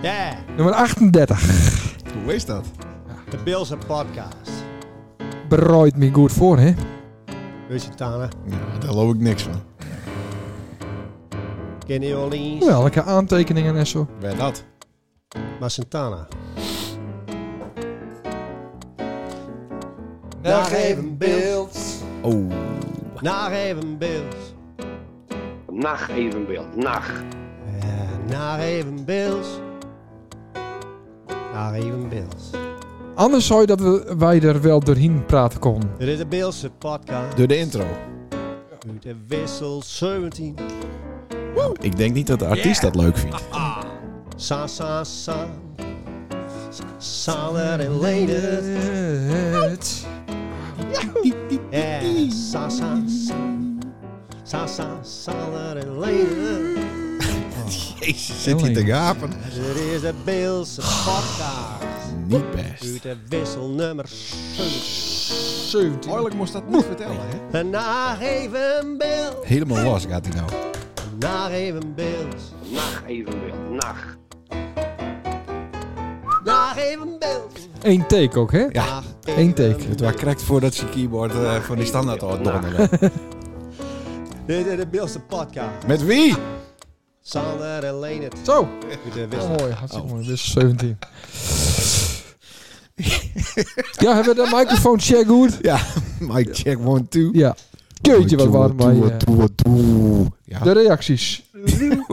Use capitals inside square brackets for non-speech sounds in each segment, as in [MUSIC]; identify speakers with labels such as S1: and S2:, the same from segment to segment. S1: Yeah,
S2: Nummer 38.
S3: Hoe is dat?
S1: de Bills podcast.
S2: Berooit me goed voor, hè?
S1: Weet je het, Tana?
S3: Ja, daar loop ik niks van.
S1: Kenny Orleans,
S2: Wel, ik heb aantekeningen en zo.
S3: Waar dat?
S1: maar Santana.
S2: Nou,
S1: Nog even beeld.
S3: Oh.
S1: Nog even beeld.
S4: Nacht evenbeeld, nacht.
S1: Eh, Nog even beeld. Nog even beeld.
S2: Anders zou je dat we, wij er wel doorheen praten konden.
S1: Dit is de Beelse podcast.
S3: Door de intro.
S1: Uit de wissel 17.
S3: Ik denk niet dat de artiest dat leuk vindt.
S1: Sa, sa, sa. er Saler en leden.
S2: Het.
S1: Yeah. Eh, Sa, sa, sa. Sa, sa, er saler en leden.
S3: Jezus, zit hij te gapen?
S1: Dit is de Beelse podcast.
S3: Niet best.
S1: Uit de wissel nummer 17.
S3: Eigenlijk moest dat niet vertellen, hè?
S1: En Nog even beeld.
S3: Helemaal los gaat hij nou.
S1: Nog even beeld.
S4: Nacht evenbeeld, nacht.
S1: Nog even beeld.
S2: Eén take ook, hè?
S3: Ja.
S1: Nog
S2: Eén take.
S1: even
S3: Het was correct voordat zijn keyboard eh, van die standaard al donderde.
S1: Dit is de Beelse podcast.
S3: [LAUGHS] Met wie?
S1: Sander en Leendert.
S2: Zo.
S1: Uit de
S3: Oh.
S1: wissel.
S2: Mooi, hartstikke mooi. Wissel 17. ja, hebben we de microfoon check goed?
S3: Ja, [LAUGHS] Mike check one, two.
S2: Ja. Keutje, wat waren wij...
S3: Toe,
S2: eh,
S3: toe, toe. Ja,
S2: de
S3: [LAUGHS]
S2: reacties.
S3: wacht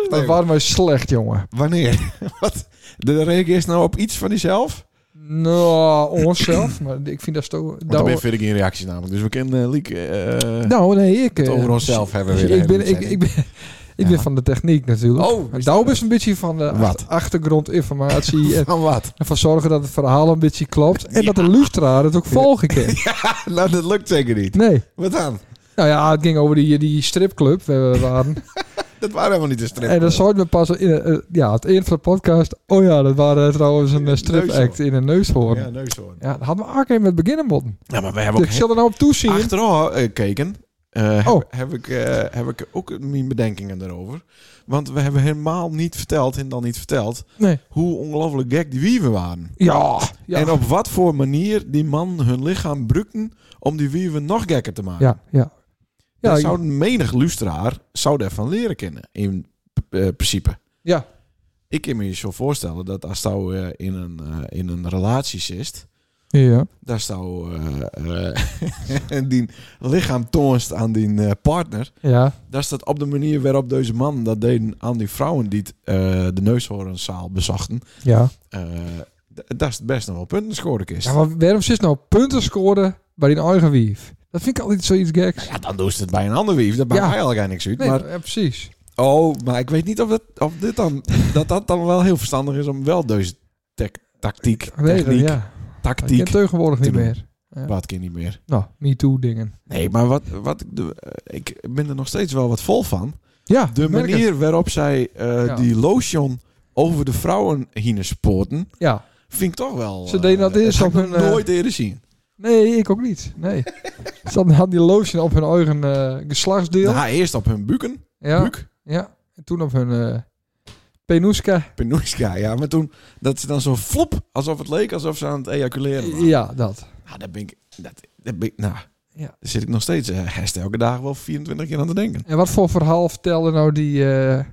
S2: Wat
S3: even.
S2: waren wij slecht, jongen.
S3: Wanneer? [LAUGHS] Wat? De reageer is nou op iets van diezelf?
S2: Nou, onszelf. Maar ik vind dat zo...
S3: Want
S2: nou-
S3: dan vind ik geen reacties namelijk. Dus we kennen uh, Liek. eh,
S2: Nou, nee, ik...
S3: het
S2: eh,
S3: over onszelf hebben we weer
S2: ik,
S3: een
S2: ben,
S3: hele
S2: ik, ik ben, ik
S3: Ja.
S2: ben van de techniek natuurlijk.
S3: Oh,
S2: Maar
S3: is
S2: Douw is een beetje van eh, de
S3: Wat?
S2: achter-
S3: [LAUGHS]
S2: achtergrondinformatie. en
S3: Van wat?
S2: ervan zorgen dat het verhaal een beetje klopt. En dat de luisteraar het ook volgen
S3: [LAUGHS]
S2: kan.
S3: nou, dat lukt zeker niet.
S2: Nee.
S3: Wat dan?
S2: Nou ja, het ging over die, die stripclub waar we
S3: [LAUGHS]
S2: waren.
S3: Dat waren helemaal niet de strip.
S2: en dan zou me pas in eh, eh, ja, het eind van de podcast. Oh ja, dat waren eh, trouwens een eh, stripact
S3: Neushoorn.
S2: in een neushoorn.
S3: Ja,
S2: Ja,
S3: neushoorn.
S2: dat hadden we ook even met beginnen moeten.
S3: Ja, maar we hebben
S2: Dus
S3: ook
S2: ik zal er nou op toezien.
S3: achteraf eh, gekeken. eh,
S2: Oh.
S3: heb, heb ik, eh, heb ik ook mijn bedenkingen erover. Want we hebben helemaal niet verteld, en dan niet verteld,
S2: Nee.
S3: hoe ongelooflijk gek die wieven waren.
S2: Ja. Ja.
S3: En op wat voor manier die man hun lichaam brukten om die wieven nog gekker te maken.
S2: ja, ja. Ja,
S3: Daar
S2: ik-
S3: zou menig luisteraar zou daarvan leren kennen, in eh, principe.
S2: Ja.
S3: Ik kan me je zo voorstellen dat als jou eh, in, een, eh, in een relatie zit,
S2: ja.
S3: daar zou eh, eh, [LAUGHS] die lichaam toonst aan die eh, partner,
S2: Ja.
S3: daar staat op de manier waarop deze man dat deden aan die vrouwen die het, eh, de neushoornzaal bezochten,
S2: Ja.
S3: eh, d- daar is het best nog wel punten scoren kist.
S2: Ja, maar waarom zit nou punten scoren bij die eigen wief? Dat vind ik altijd zoiets geks.
S3: Ja, dan doen ze het bij een ander wief. Dat maakt
S2: Ja.
S3: mij eigenlijk niks uit.
S2: Nee,
S3: maar,
S2: ja, precies.
S3: oh, maar ik weet niet of, dat, of dit dan, [LAUGHS] dat dat dan wel heel verstandig is om wel deze tec- tactiek,
S2: Nee,
S3: techniek,
S2: ja. Ik ken
S3: tactiek,
S2: tegenwoordig niet
S3: te doen.
S2: meer. ja.
S3: wat ken niet meer.
S2: Nou, me too dingen.
S3: Nee, maar wat, wat ik, doe- eh, ik ben er nog steeds wel wat vol van.
S2: Ja,
S3: De
S2: ik merk het.
S3: manier waarop zij eh,
S2: Ja.
S3: die lotion over de vrouwen heen spoten,
S2: Ja.
S3: vind ik toch wel...
S2: Ze deden dat
S3: eh,
S2: eerst
S3: had
S2: op
S3: ik
S2: hun,
S3: nog
S2: eh,
S3: nooit eerder zien.
S2: Nee, ik ook niet.
S3: [LAUGHS]
S2: Nee. Ze hadden- hadden die lotion op hun eigen eh, geslachtsdeel.
S3: Nou, eerst op hun buken.
S2: ja.
S3: Buik.
S2: Ja. En toen op hun eh, penuska.
S3: Penouska, ja. Maar toen, dat ze dan zo flop, alsof het leek alsof ze aan het ejaculeren waren.
S2: Ja, dat.
S3: Nou, daar ben ik... Dat, daar ben ik nou,
S2: Ja.
S3: daar zit ik nog steeds eh, haast elke dag wel 24 keer aan te denken. [LAUGHS]
S2: En wat voor verhaal vertelde nou die, eh,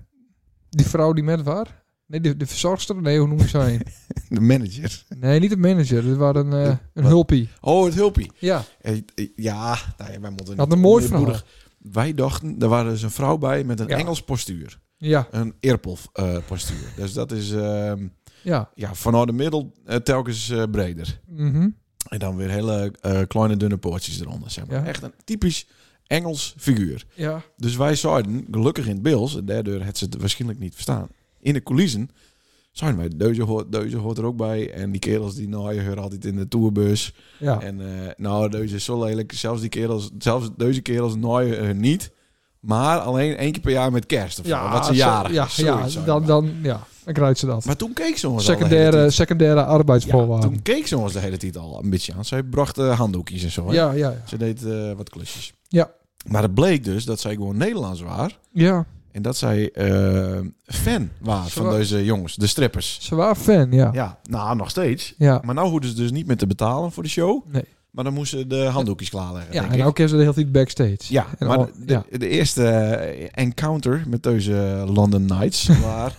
S2: die vrouw die met was? Nee, de, de verzorgster? Nee, hoe noem je ze nou
S3: [LAUGHS]
S2: heen?
S3: De manager.
S2: Nee, niet de manager. Dit waren een, eh, een
S3: wat?
S2: hulpie.
S3: Oh, het hulpie.
S2: Ja.
S3: Eh, eh, Ja, nou, ja, wij moeten
S2: Dat
S3: niet
S2: een mooi
S3: onderboedig.
S2: verhaal.
S3: Wij dachten, er waren dus een vrouw bij met een
S2: Ja.
S3: Engels postuur.
S2: Ja.
S3: Een eerpel eh, postuur. Dus dat is ehm
S2: Ja.
S3: ja, vanuit de middel eh, telkens eh, breder.
S2: Mhm.
S3: En dan weer hele eh, kleine dunne poortjes eronder. Zeg maar.
S2: Ja.
S3: Echt een typisch Engels figuur.
S2: Ja.
S3: Dus wij zouden, gelukkig in het Bills, en daardoor had ze het waarschijnlijk niet verstaan, in de coulissen, zouden wij, Deuze hoort, Deuze hoort er ook bij. En die kerels die naaien haar altijd in de tourbus.
S2: Ja.
S3: En eh, nou, Deuze is zo lelijk. Zelfs, die kerels, zelfs deze kerels naaien haar niet. Maar alleen één keer per jaar met kerst of zo, wat ze
S2: zo-
S3: jaren.
S2: Ja, ja dan, dan, ja, dan krijgt ze dat.
S3: Maar toen keek ze ons al de hele
S2: secundaire
S3: tijd.
S2: secundaire
S3: Ja,
S2: arbeidsvoorwaarden.
S3: toen keek ze ons de hele tijd al een beetje aan. Zij bracht eh, handdoekjes en zo. hè.
S2: Ja, ja, ja.
S3: Ze deed eh, wat klusjes.
S2: Ja.
S3: Maar het bleek dus dat zij gewoon Nederlands was.
S2: Ja,
S3: En dat zij eh, fan waren
S2: Ze
S3: van
S2: wa-
S3: deze jongens, de strippers.
S2: Ze waren fan, ja. Ja.
S3: Ja, nou, nog steeds.
S2: ja.
S3: Maar nou hoefden ze dus niet meer te betalen voor de show.
S2: Nee.
S3: Maar dan moesten ze de handdoekjes klaarleggen, denk
S2: en
S3: ik.
S2: ook hebben ze de hele tijd backstage.
S3: Ja,
S2: en
S3: maar
S2: al-
S3: de,
S2: ja.
S3: de eerste eh, encounter met deze London
S2: [LAUGHS]
S3: Knights... waar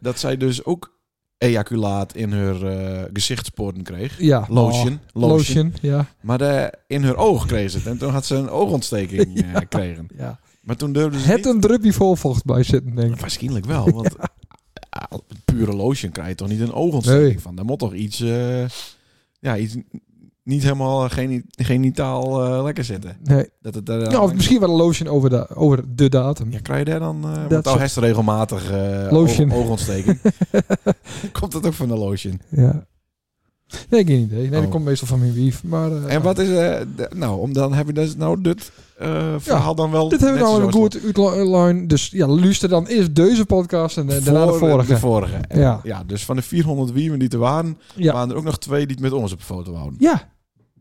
S3: dat zij dus ook ejaculaat in haar eh gezichtsporen kreeg.
S2: Ja.
S3: Lotion,
S2: Oh,
S3: lotion.
S2: lotion, ja.
S3: Maar de, in haar oog kreeg ze het. En toen had ze een
S2: [LAUGHS]
S3: oogontsteking eh,
S2: Ja.
S3: kregen.
S2: ja.
S3: Maar toen durfde ze
S2: Het
S3: Dus niet-
S2: een druppie vol vocht bij zitten, denk ik.
S3: Waarschijnlijk wel,
S2: [LAUGHS]
S3: want ah, pure lotion krijg je toch niet een oogontsteking
S2: Nee.
S3: van. Daar moet toch iets, eh, ja, iets niet helemaal geni- genitaal eh, lekker zitten.
S2: Nee.
S3: Dat het, eh, daar
S2: Nou, of misschien wel een lotion over de, over de datum.
S3: ja, krijg je daar dan, eh
S2: Dat
S3: want nou
S2: zo-
S3: heeft ze regelmatig eh,
S2: Lotion.
S3: oog-
S2: [LAUGHS]
S3: oogontsteking. komt dat ook van de lotion?
S2: Ja. Nee, geen idee. Nee, dat
S3: Oh.
S2: komt meestal van mijn wief. Maar, eh,
S3: En wat is, eh, de- nou, om dan heb je dus nou dit eh, verhaal dan wel.
S2: Dit hebben we
S3: net
S2: nou
S3: zo
S2: een goed uitline. Dus ja, luister dan eerst deze podcast en eh, daarna de
S3: voor
S2: vorige.
S3: De vorige. En,
S2: Ja.
S3: ja. dus van de 400 wiemen die er waren,
S2: Ja.
S3: waren er ook nog twee die het met ons op de foto houden.
S2: Ja.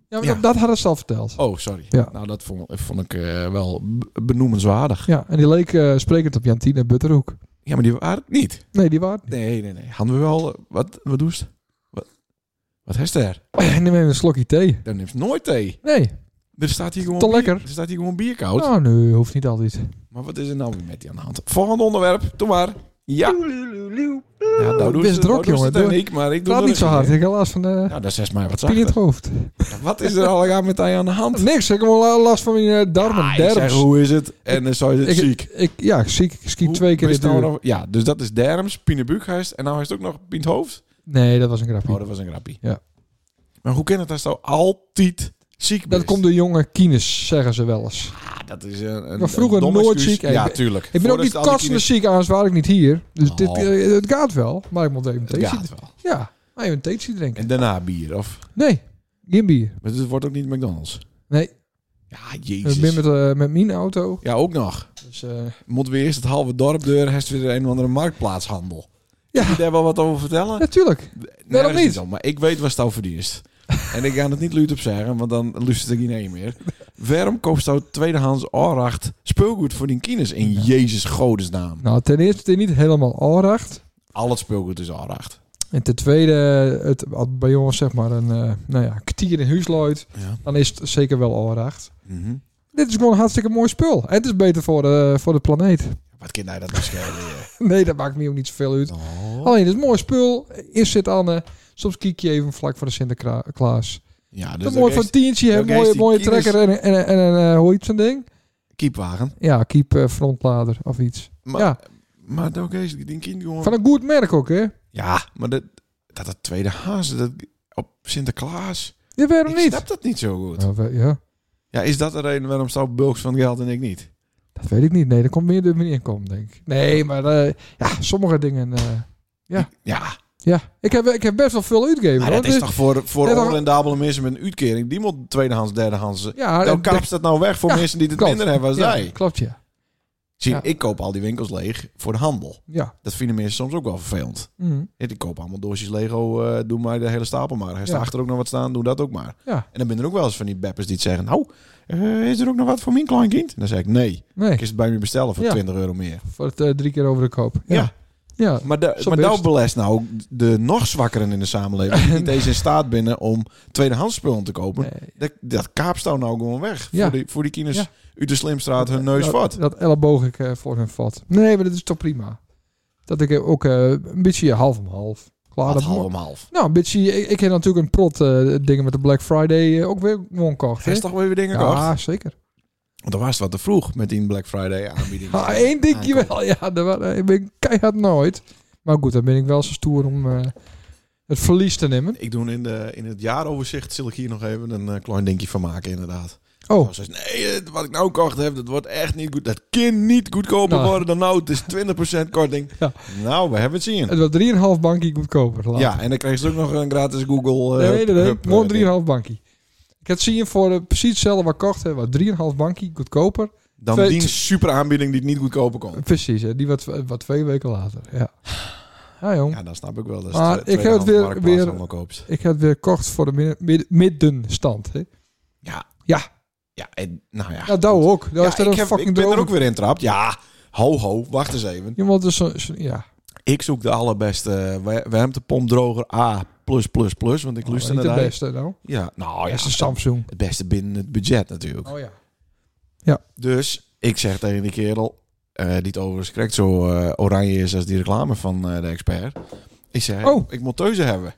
S2: Ja, maar
S3: Ja.
S2: Dat, dat hadden ze al verteld.
S3: Oh, sorry.
S2: Ja.
S3: Nou, dat vond, vond ik eh, wel b- benoemenswaardig.
S2: Ja, en die leek eh, sprekend op Jantine Butterhoek.
S3: Ja, maar die waren het niet.
S2: Nee, die waren het
S3: Nee, nee, nee. Hadden we wel... eh, Wat, wat doe je? Wat, wat heeft er?
S2: niet. [LAUGHS] Neem even een slokje thee.
S3: Dan neemt ze nooit thee.
S2: Nee.
S3: Er staat hier gewoon,
S2: Te
S3: bier,
S2: lekker.
S3: Er staat hier gewoon bier koud.
S2: Nou, nee, hoeft niet altijd.
S3: Maar wat is er nou weer met die aan de hand? Volgende onderwerp. Doe maar. Ja. ja nou
S2: Best druk,
S3: nou doen
S2: jongen.
S3: ze
S2: Doe-
S3: het en ik, maar ik doe
S2: Praat
S3: dat dus
S2: niet zo
S3: niet,
S2: hard.
S3: hè.
S2: Ik heb last van de
S3: Nou, dat is maar wat
S2: pijn in het
S3: zachter.
S2: hoofd.
S3: Wat is er allemaal met die aan de hand?
S2: Niks. Ik heb wel last van mijn eh, darmen.
S3: Ah, ik
S2: derms.
S3: zeg, hoe is het? En dan zou je het
S2: Ik-
S3: ziek.
S2: Ik, ja, ik ziek. Ik skiet
S3: Hoe-
S2: twee keer
S3: wist
S2: dit
S3: nou
S2: uur.
S3: nog- Ja, dus dat is derms, Pine Buukhuis en nou is het ook nog Pien Hoofd.
S2: Nee, dat was een grapje.
S3: Oh, dat was een grappie.
S2: Ja.
S3: Maar hoe kan het als je altijd ziek bent?
S2: dat komt door jonge kines, zeggen ze wel eens.
S3: Ah, dat is een, een
S2: Maar vroeger
S3: een dom
S2: nooit
S3: excuus.
S2: ziek.
S3: Ja,
S2: Ik-
S3: tuurlijk.
S2: Ik ben
S3: Voordat
S2: ook
S3: het
S2: niet
S3: al die
S2: katsende
S3: kinderen-
S2: ziek, anders waar ik niet hier. Dus
S3: Oh.
S2: dit, eh, het gaat wel. Maar ik moet even een
S3: Het
S2: theetje
S3: gaat wel.
S2: Ja, maar even een theetje drinken.
S3: En daarna bier, of?
S2: Nee, geen bier.
S3: Maar het wordt ook niet McDonald's.
S2: Nee,
S3: Ja,
S2: ik
S3: jezus.
S2: ben met, eh, met mijn auto.
S3: Ja, ook nog.
S2: Dus, eh,
S3: Moet weer eerst het halve dorp deur, heeft weer een of andere marktplaatshandel.
S2: Ja.
S3: Kun je daar wel wat over vertellen?
S2: natuurlijk.
S3: Nee, dat
S2: niet?
S3: niet. Om, maar ik weet wat jou verdienst. en ik ga het niet luid op zeggen, want dan luistert ik niet meer. Waarom koopt jou tweedehands oracht speelgoed voor die kinders in Jezus Godes naam?
S2: Nou, ten eerste het is niet helemaal aanracht.
S3: Al het speelgoed is aanracht.
S2: En ten tweede, het, als bij jongens zeg maar een eh, nou ja, kwartier in huis looit,
S3: Ja.
S2: dan is het zeker wel aanracht.
S3: Mhm.
S2: Dit is gewoon een hartstikke mooi spul. En het is beter voor de, voor de planeet. [LAUGHS]
S3: Wat kan hij dat nou beschermen?
S2: Nee, dat maakt me ook niet zoveel uit. Alleen, het is een mooi spul. Eerst zit Anne. Soms kiek je even vlak voor de Sinterklaas.
S3: Ja,
S2: Dat
S3: dus
S2: is mooi van tientje.
S3: dan
S2: Een
S3: geeft
S2: mooie,
S3: die
S2: mooie
S3: kieners-
S2: trekker en, een- en, een- en een, eh, hoe heet zo'n ding?
S3: kiepwagen.
S2: Ja, keep eh, frontlader of iets.
S3: Maar,
S2: ja,
S3: maar dan is die kind gewoon...
S2: van een goed merk ook, hè?
S3: Ja, maar dat, dat, dat tweede haas dat, op Sinterklaas.
S2: Ja, waarom
S3: Ik
S2: niet?
S3: snap dat niet zo goed.
S2: Ja, we- ja,
S3: Ja, is dat de reden waarom zou Bulks van Geld en ik niet?
S2: dat weet ik niet. Nee, dat komt meer door mijn inkomen, denk ik. Nee, maar eh, ja, sommige dingen... eh,
S3: Ja,
S2: ja, ik heb, ik heb best wel veel uitgegeven.
S3: maar
S2: hoor. Dus-
S3: dat is toch voor, voor
S2: dat is toch-
S3: onrendabele mensen met een uitkering. Die moet tweedehands, derdehands...
S2: Ja, eh,
S3: Dan
S2: dat-
S3: kapt dat nou weg voor
S2: Ja,
S3: mensen die het
S2: klopt.
S3: minder hebben als
S2: ja,
S3: zij.
S2: klopt, ja.
S3: Zie,
S2: Ja.
S3: ik koop al die winkels leeg voor de handel.
S2: Ja.
S3: Dat vinden mensen soms ook wel vervelend.
S2: Mhm.
S3: Ja, die kopen allemaal doosjes Lego. eh, doe maar de hele stapel maar. Hij
S2: Ja.
S3: staat achter ook nog wat staan. Doe dat ook maar.
S2: Ja.
S3: En dan ben er ook wel eens van die beppers die het zeggen... Nou, eh, is er ook nog wat voor mijn kleinkind? En dan zeg ik nee.
S2: Nee,
S3: Ik is het bij me bestellen voor
S2: Ja.
S3: 20 euro meer.
S2: voor het eh, drie keer over de koop.
S3: Ja.
S2: ja.
S3: Maar, da
S2: Zo
S3: maar
S2: best.
S3: nou belast nou de nog zwakkeren in de samenleving...
S2: [LAUGHS]
S3: die niet eens in staat binnen om tweedehands spullen te kopen.
S2: Nee.
S3: Dat, dat kaapstouw nou gewoon weg.
S2: Ja.
S3: Voor, die, voor die kinders
S2: Ja.
S3: uit de slimstraat hun neus
S2: dat,
S3: vat.
S2: Dat elleboog ik eh, voor hun vat. Nee, maar dat is toch prima. Dat ik ook eh, een beetje half om half. Klaar,
S3: Wat
S2: dat
S3: half om half.
S2: Nou, een beetje. Ik, ik heb natuurlijk een prot eh, dingen met de Black Friday eh, ook weer gewoon gekocht.
S3: Hij
S2: hè?
S3: is toch wel weer dingen gekocht?
S2: Ja, zeker.
S3: Want dan was het wat te vroeg met die Black Friday
S2: [LAUGHS]
S3: aanbieding.
S2: Ah, één dingje wel. Ja, dat wa- eh, ik ben keihard nooit. Maar goed, dan ben ik wel zo stoer om eh, het verlies te nemen.
S3: Ik doe in, de, in het jaaroverzicht, zal ik hier nog even een eh, klein dingetje van maken inderdaad.
S2: Oh,
S3: Nou, ze zegt, nee, het- wat ik nou kocht heb, dat wordt echt niet goed. Dat kan niet goedkoper
S2: Nou.
S3: worden dan nou.
S2: [LAUGHS]
S3: Het is 20% korting.
S2: Ja.
S3: Nou, we hebben het zien.
S2: het was 3,5 bankie goedkoper. laat.
S3: Ja, en dan kreeg ze ook nog een gratis Google... eh,
S2: nee, nee, nee.
S3: hup,
S2: Gewoon
S3: eh, ding.
S2: 3,5 bankie. Ik had zien voor eh, precies hetzelfde wat ik kocht. hè, Wat 3,5 bankie goedkoper.
S3: Dan
S2: Twee-
S3: die super aanbieding die het niet goedkoper kon.
S2: Precies, hè, die wat, wat twee weken later. Ja, ja jong.
S3: Ja, dan snap ik wel. Dat
S2: Maar
S3: het
S2: ik heb het
S3: tweedehands
S2: weer-
S3: marktplaats
S2: weer-
S3: allemaal koopt.
S2: Ik had weer kort voor de midden- midden- middenstand. Hè.
S3: Ja.
S2: Ja.
S3: Ja, en, nou ja.
S2: Ja, dat ook. Dat
S3: Ja,
S2: is er
S3: ik,
S2: een
S3: heb-
S2: fucking
S3: ik ben er
S2: droom.
S3: ook weer in trapt. Ja, Ho, ho, wacht eens even.
S2: Je moet dus zo, zo- ja.
S3: Ik zoek de allerbeste wa- warmtepompdroger A+++, want ik luister
S2: Oh, niet
S3: naar
S2: de
S3: die.
S2: beste nou.
S3: Ja, nou
S2: Ja,
S3: ja,
S2: is een Samsung.
S3: het beste binnen het budget natuurlijk.
S2: Oh ja.
S3: Dus ik zeg tegen die kerel, eh, die het overigens correct zo eh, oranje is als die reclame van eh, de expert. Ik zeg,
S2: Oh.
S3: ik moet teuzen hebben.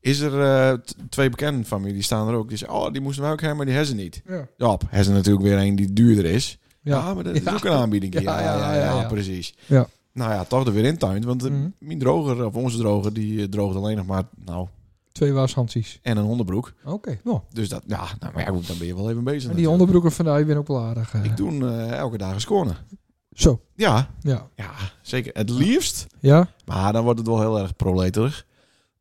S3: Is er eh, t- twee bekenden van me, die staan er ook. Die zeggen, oh, die moesten wij ook hebben, maar die hebben ze niet.
S2: Ja.
S3: Ja, hebben ze natuurlijk weer een die duurder is. Ja,
S2: Ja.
S3: maar dat is
S2: [LAUGHS] Ja.
S3: ook een aanbieding. Ja, ja, ja,
S2: ja.
S3: precies.
S2: Ja.
S3: Nou ja, toch er weer in tuin. Want eh,
S2: Mhm.
S3: mijn droger, of onze droger, die eh, droogt alleen nog maar, nou,
S2: Twee washandjes.
S3: en een onderbroek.
S2: Oké. Nou,
S3: Dus dat, ja, nou, maar ja, goed, dan ben je wel even bezig.
S2: en die
S3: natuurlijk.
S2: onderbroeken van nou, ik ben ook wel aardig. eh.
S3: Ik doe eh, elke dag een scorner.
S2: Zo.
S3: Ja,
S2: Ja.
S3: ja, zeker. Het liefst,
S2: Ja.
S3: maar dan wordt het wel heel erg proleterig.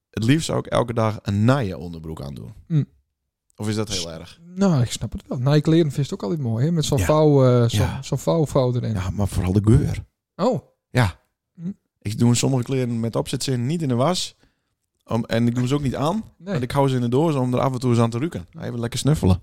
S3: Het liefst zou ik elke dag een naaien onderbroek aandoen.
S2: Mhm.
S3: Of is dat heel erg?
S2: Nou, ik snap het wel. Nike leren vind ik ook altijd mooi, hè? Met zo'n
S3: Ja.
S2: vouw, eh, zo-
S3: Ja.
S2: zo'n vouwvouw erin.
S3: Ja, maar vooral de geur.
S2: Oh.
S3: Ik doe sommige kleren met opzetzin niet in de was. Om- en ik doe ze ook niet aan.
S2: Nee.
S3: Want ik hou ze in de doos om er af en toe eens aan te ruiken. Nou, Even lekker snuffelen.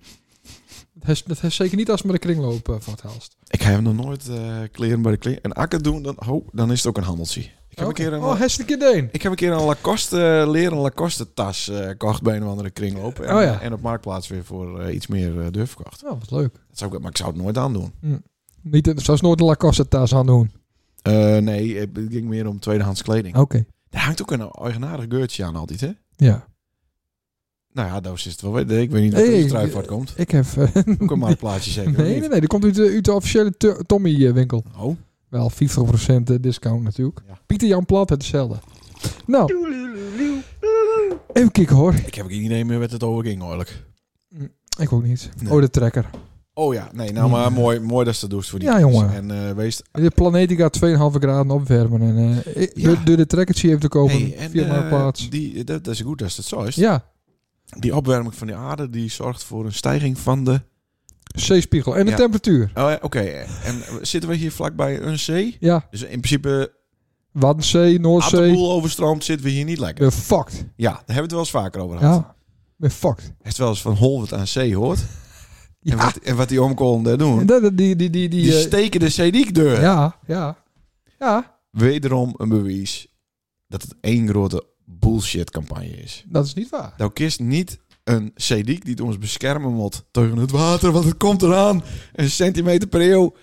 S2: Dat is, dat is zeker niet als het met de kringloop eh, van het helst.
S3: Ik heb nog nooit eh, kleren bij de kleren. En akker doen, dan, ho, dan is het ook een handeltje. Ik heb,
S2: Oké.
S3: een, eh, keer een,
S2: Oh, hartstikke deen.
S3: ik heb een keer een Lacoste, eh, leren Lacoste tas eh gekocht bij een of andere kringloop. En,
S2: Oh ja.
S3: en op Marktplaats weer voor eh, iets meer eh durf verkocht.
S2: Oh, wat leuk.
S3: Dat zou ik, maar ik zou het nooit aandoen.
S2: Niet, eh, zelfs nooit een Lacoste taas aan doen.
S3: Eh, nee, het ging meer om tweedehands kleding.
S2: Oké.
S3: Daar hangt ook een eigenaardig geurtje aan altijd, hè?
S2: Ja.
S3: Nou ja, doos is het wel. weer. Ik weet niet of er
S2: Hey,
S3: iets eruit
S2: eh,
S3: wat komt.
S2: Ik heb... eh,
S3: Ook een Marktplaatsje zeker.
S2: [LAUGHS]
S3: of
S2: nee,
S3: niet?
S2: nee, nee. Die komt uit, de- uit de officiële to- Tommy eh, winkel.
S3: Oh.
S2: Wel 50% discount natuurlijk.
S3: Ja.
S2: Pieter Jan Plat, hetzelfde. Nou. Even kijken hoor.
S3: Ik heb geen idee meer wat het over ging, eigenlijk.
S2: Ik ook niet.
S3: Nee.
S2: Oh, de trekker.
S3: Oh ja, nee, nou maar mooi, mooi dat ze dat doet voor die
S2: Ja,
S3: kids.
S2: jongen.
S3: En eh wees...
S2: De planeet die gaat 2,5 graden opwarmen. En, eh, ik-
S3: Ja.
S2: door, door de trekkertje even te kopen
S3: Hey, en,
S2: via
S3: eh,
S2: mijn plaats.
S3: Die, dat, dat is goed als dat zo is.
S2: Ja,
S3: Die opwarming van die aarde, die zorgt voor een stijging van de...
S2: zeespiegel. En de
S3: Ja.
S2: temperatuur.
S3: Oh, ja, Oké, en eh, zitten we hier vlakbij een zee?
S2: Ja,
S3: Dus in principe,
S2: Waddenzee,
S3: als de
S2: Noordzee.
S3: boel overstroomt, zitten we hier niet lekker.
S2: We're fucked.
S3: Ja, daar hebben we het wel eens vaker over gehad.
S2: Ja, we're fucked.
S3: Als het wel eens van Holwert aan
S2: [LAUGHS]
S3: zee hoort. En,
S2: Ja,
S3: wat, en wat die omkomen eh, doen.
S2: dat- dat- die, die, die, die,
S3: Die
S2: eh,
S3: steken de zeediekdeur.
S2: ja, ja. Ja,
S3: Wederom een bewijs dat het één grote bullshit campagne is.
S2: dat is niet waar.
S3: Nou kist niet een sediek die ons beschermen moet tegen het water, want het komt eraan. Een centimeter per eeuw. Dat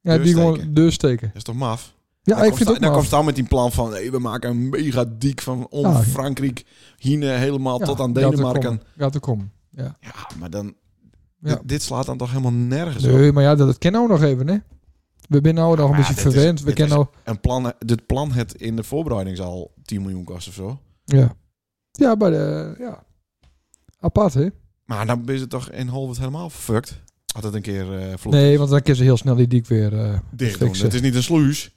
S2: Ja, die
S3: Deursteken.
S2: gewoon deur steken.
S3: is toch maf?
S2: Ja,
S3: dan
S2: ik vind het ook
S3: Dan
S2: maar.
S3: komt dan met die plan van, hey, we maken een mega dik van om
S2: Ja.
S3: Frankrijk, hier helemaal
S2: Ja,
S3: tot aan
S2: gaat er
S3: Denemarken.
S2: komen. Gaat er komen. Ja.
S3: Ja, maar dan...
S2: Ja.
S3: Dit, dit slaat dan toch helemaal nergens op?
S2: Nee, maar ja, dat, dat ken nou nog even, hè. We zijn nou nog een
S3: maar
S2: beetje
S3: ja, dit is-
S2: verwend. we
S3: dit
S2: kennen
S3: is-
S2: nou...
S3: Een plan, dit plan het in de voorbereiding zal 10 miljoen kosten of zo.
S2: Ja. Ja, maar de... Ja. Apart, hè?
S3: Maar dan is het toch in Holland helemaal fucked? Had het een keer eh vloed
S2: Nee, want dan kun ze heel snel die diek weer eh
S3: dicht doen.
S2: fixen.
S3: Het is niet een sluis.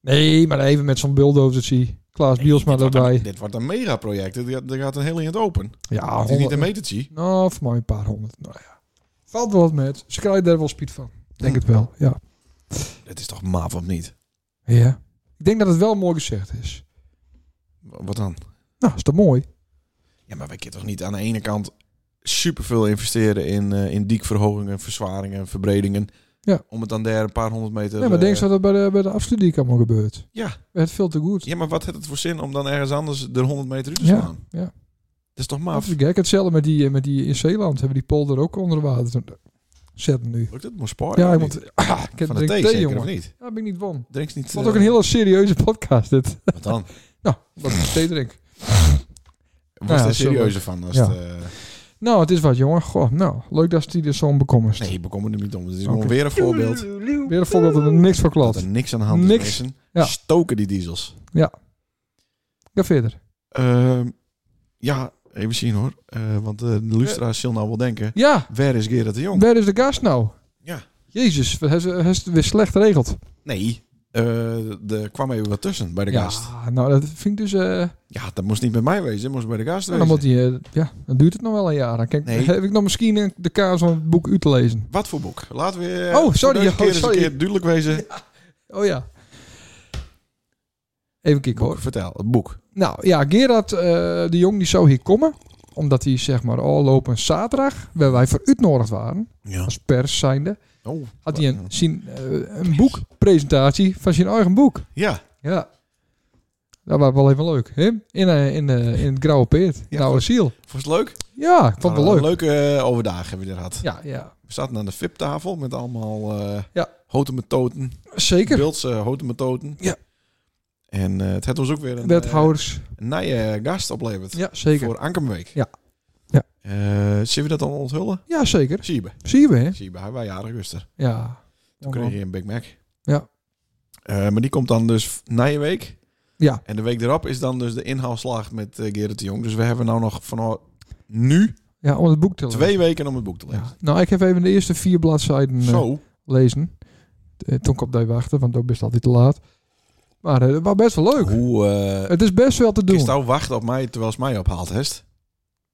S2: Nee, maar even met zo'n bulldozer. Klaas Bielsma
S3: dit, wordt
S2: erbij.
S3: een, dit wordt een megaproject. Er gaat- er gaat een heel in het open.
S2: Ja,
S3: Het is niet
S2: honderd-
S3: een metertje.
S2: Nou, voor mij een paar honderd. Nou ja. Valt wel wat met. Ze krijgen daar wel speed van. Denk het wel, ja.
S3: Het is toch maaf of niet?
S2: Ja. Ik denk dat het wel mooi gezegd is.
S3: W- Wat dan?
S2: Nou, is toch mooi?
S3: Ja, maar wij kunnen toch niet aan de ene kant superveel investeren in, eh in diekverhogingen, verzwaringen, verbredingen.
S2: Ja.
S3: Om het dan daar een paar honderd meter...
S2: Ja, maar
S3: eh,
S2: denk je dat dat bij de, bij de afstudiek allemaal gebeurt?
S3: Ja.
S2: Het veel te goed.
S3: ja, maar wat heeft het voor zin om dan ergens anders de 100 meter uit te
S2: Ja,
S3: slaan?
S2: ja.
S3: Dat is toch
S2: Dat
S3: maaf?
S2: is gek. Hetzelfde met die, eh, met die in Zeeland. Hebben die polder ook onder water te- zetten nu.
S3: Lukt het? Moet sport?
S2: Ja, ik
S3: ik
S2: moet... [CLEARS THROAT] Ah, ik heb
S3: Van de
S2: drink
S3: thee,
S2: thee,
S3: zeker, of
S2: jongen. Ja,
S3: niet?
S2: dat ben ik niet won.
S3: Drinkt niet...
S2: Het was
S3: eh,
S2: ook een hele serieuze podcast, dit. [LAUGHS]
S3: Wat dan?
S2: Nou, dat ik thee drink.
S3: Was
S2: ja,
S3: er
S2: zo
S3: serieuzer van? Als
S2: Ja.
S3: het, eh,
S2: Nou, het is wat, jongen. Goh, nou, leuk dat hij er zo'n bekommerst.
S3: nee, ik bekommer er niet om. Het is
S2: Oké.
S3: gewoon weer een voorbeeld
S2: Weer een voorbeeld dat er niks voor
S3: dat
S2: klopt.
S3: er niks aan de hand is.
S2: Niks.
S3: mensen.
S2: Ja.
S3: Stoken die diesels.
S2: Ga verder.
S3: Ehm, ja, even zien hoor. Eh, want eh, de luisteraars zullen nou wel denken...
S2: Ja,
S3: Waar is Gerard de Jong?
S2: waar is de gast nou?
S3: Ja.
S2: Jezus, hij is- hij is het weer slecht geregeld.
S3: Nee, eh, er kwam even wat tussen bij de gast.
S2: Ja, nou, dat vind ik dus... eh,
S3: Ja, dat moest niet bij mij wezen, dat moest bij de gast
S2: nou,
S3: wezen.
S2: dan, moet hij, eh, ja, dan duurt het nog wel een jaar. Dan kijk,
S3: Nee.
S2: [LAUGHS] heb ik nog misschien eh, de kaas van het boek u te lezen.
S3: Wat voor boek? Laten we eh,
S2: Oh,
S3: voor
S2: sorry,
S3: deze
S2: oh,
S3: keer eens
S2: sorry.
S3: een keer duidelijk wezen.
S2: Oh ja. Even kijken hoor.
S3: Boek, vertel, het boek.
S2: Nou ja, Gerard eh, de Jong die zou hier komen. Omdat hij zeg maar al lopen zaterdag, waar wij voor uitnodigd waren.
S3: Ja.
S2: als pers zijnde.
S3: Oh,
S2: Had hij een, zijn, eh, een boekpresentatie van zijn eigen boek.
S3: Ja,
S2: Ja. Dat was wel even leuk. Hè? In, eh, in, eh, in het grauwe peert.
S3: Ja,
S2: nou,
S3: goed.
S2: een ziel.
S3: vond je het leuk?
S2: Ja, ik vond het wel
S3: Nou,
S2: leuk.
S3: Een leuke eh, overdag hebben we er gehad.
S2: Ja, ja.
S3: We zaten aan de VIP-tafel met allemaal eh
S2: Ja.
S3: houten metoten.
S2: Zeker.
S3: Beeldse houten metoten.
S2: Ja.
S3: En eh, het had ons ook weer een, eh,
S2: Wethouders.
S3: een nije gast opleverd.
S2: Ja, zeker.
S3: Voor Ankermweek.
S2: Ja. Ja.
S3: Eh, zullen we dat dan onthullen?
S2: Ja, zeker.
S3: Siebe.
S2: Zie je, hè?
S3: Siebe, hij was jarig gisteren.
S2: Ja.
S3: Toen kreeg je een Big Mac.
S2: Ja.
S3: Eh, maar die komt dan dus na je week.
S2: Ja.
S3: En de week erop is dan dus de inhaalslag met eh Gerrit de Jong. Dus we hebben nou nog vanaf nu
S2: Ja, om het boek te lezen.
S3: twee weken om het boek te lezen.
S2: Ja. Nou, ik heb even de eerste vier bladzijden eh,
S3: Zo.
S2: lezen. Eh, toen kon ik op die wachten, want dan best altijd te laat. Maar eh, het was best wel leuk.
S3: Hoe eh
S2: Het is best wel te doen.
S3: is nou wachten op mij terwijl ze mij ophaalt, Hest?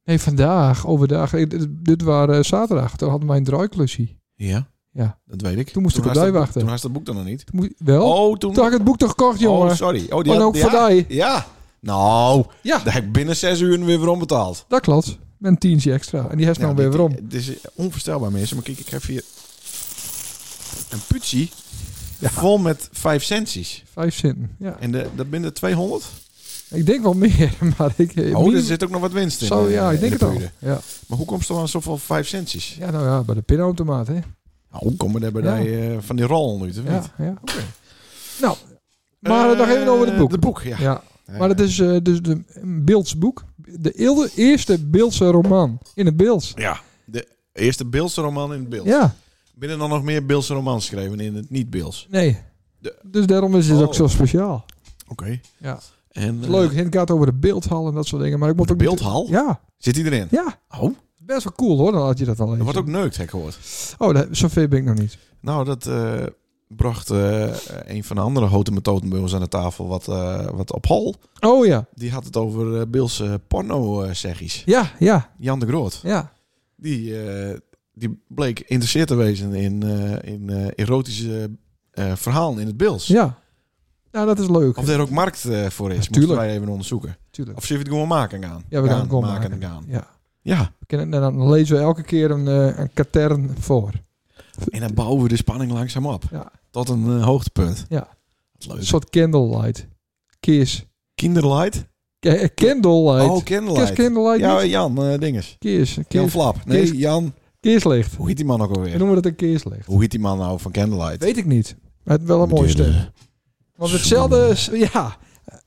S2: Nee, vandaag, overdag. Eh, dit, dit waren eh, zaterdag. Toen hadden wij een draaiklusje.
S3: Ja.
S2: Ja.
S3: Dat weet ik.
S2: Toen moest ik op
S3: had
S2: die
S3: dat-
S2: wachten.
S3: Toen had ze dat boek dan nog niet.
S2: Toen moest- Wel?
S3: Oh, toen...
S2: Toen had ik het boek toch gekocht, jongen.
S3: oh, sorry. Oh, die
S2: en
S3: had-
S2: ook
S3: ja.
S2: voor die.
S3: Ja. Nou,
S2: Ja.
S3: daar heb ik binnen zes uur weer weer onbetaald.
S2: Dat klopt. Met een tientje extra. En die heeft
S3: Nou,
S2: nou weer
S3: dit-
S2: weer om.
S3: Het is onvoorstelbaar, mensen. Maar kijk, ik heb hier een putsie vol met vijf centjes.
S2: Vijf centen. Ja.
S3: En de, dat binnen 200.
S2: Ik denk wel meer, [LAUGHS] maar ik... eh,
S3: Oh, er
S2: minim-
S3: zit ook nog wat winst in.
S2: Zo,
S3: eh,
S2: ja, ik
S3: in
S2: denk
S3: de
S2: het al.
S3: pruiden.
S2: Ja.
S3: Maar hoe komt ze dan aan zoveel vijf centjes?
S2: ja, nou ja, bij de pinautomaat, hè.
S3: Nou, hoe komen er bij
S2: Ja.
S3: die, eh, van die rol nu?
S2: Ja, ja. Nou, maar nog even over het boek.
S3: Het Eh, boek, ja.
S2: ja.
S3: Ja,
S2: Maar het is eh, dus de, een Beelds boek. De eelde- eerste Beeldse roman in het Beelds.
S3: Ja, de eerste Beelse roman in het beeld.
S2: Ja,
S3: Binnen dan nog meer Beelse romans geschreven in het niet-Beels.
S2: nee.
S3: De-
S2: Dus daarom is het
S3: Oh.
S2: ook zo speciaal.
S3: Oké.
S2: Ja.
S3: En,
S2: Het
S3: eh,
S2: is leuk, het gaat over de beeldhal en dat soort dingen. Maar ik moet
S3: De
S2: ook niet-
S3: beeldhal?
S2: Ja,
S3: Zit iedereen?
S2: ja.
S3: Oh,
S2: Best wel cool hoor, dan had je dat al
S3: er
S2: eens.
S3: wordt ook neukt, heb ik gehoord.
S2: Oh, dat, zover ben ik nog niet.
S3: Nou, dat eh, bracht eh, een van de andere houten methoden bij ons aan de tafel wat, eh, wat op hol.
S2: Oh ja,
S3: Die had het over eh, Beelse porno-zeggies.
S2: ja, ja,
S3: Jan de Groot.
S2: ja.
S3: Die, eh, die bleek interesseerd te wezen in, eh, in eh, erotische eh, verhalen in het Beels.
S2: Ja, nou dat is leuk.
S3: Of daar ook markt eh, voor is, moeten
S2: Tuurlijk.
S3: wij even onderzoeken.
S2: Natuurlijk.
S3: Of zullen we het gewoon maken gaan?
S2: Ja, we gaan het
S3: Gaan,
S2: gewoon
S3: maken
S2: maken.
S3: en gaan.
S2: Ja.
S3: Ja,
S2: We kennen- En dan lezen we elke keer een, eh, een katern
S3: Oh,
S2: voor.
S3: en dan bouwen we de spanning langzaam op.
S2: Ja.
S3: Tot een eh, hoogtepunt.
S2: Ja.
S3: Wat leuk.
S2: Een soort candlelight. Kiss.
S3: Kinderlight?
S2: Ke- Candlelight.
S3: Oh,
S2: Kiss
S3: kinderlight.
S2: candlelight
S3: Ja,
S2: niet?
S3: Jan eh, Dinges.
S2: Kiss.
S3: Jan
S2: Kiss.
S3: Flap. Nee,
S2: Kees-
S3: Jan.
S2: Keerslicht.
S3: Hoe heet die man ook
S2: We
S3: alweer?
S2: noemen dat een keerslicht.
S3: Hoe heet die man nou van Candlelight?
S2: Weet ik niet. Maar het is wel een mooie stem. Want hetzelfde... is- Ja.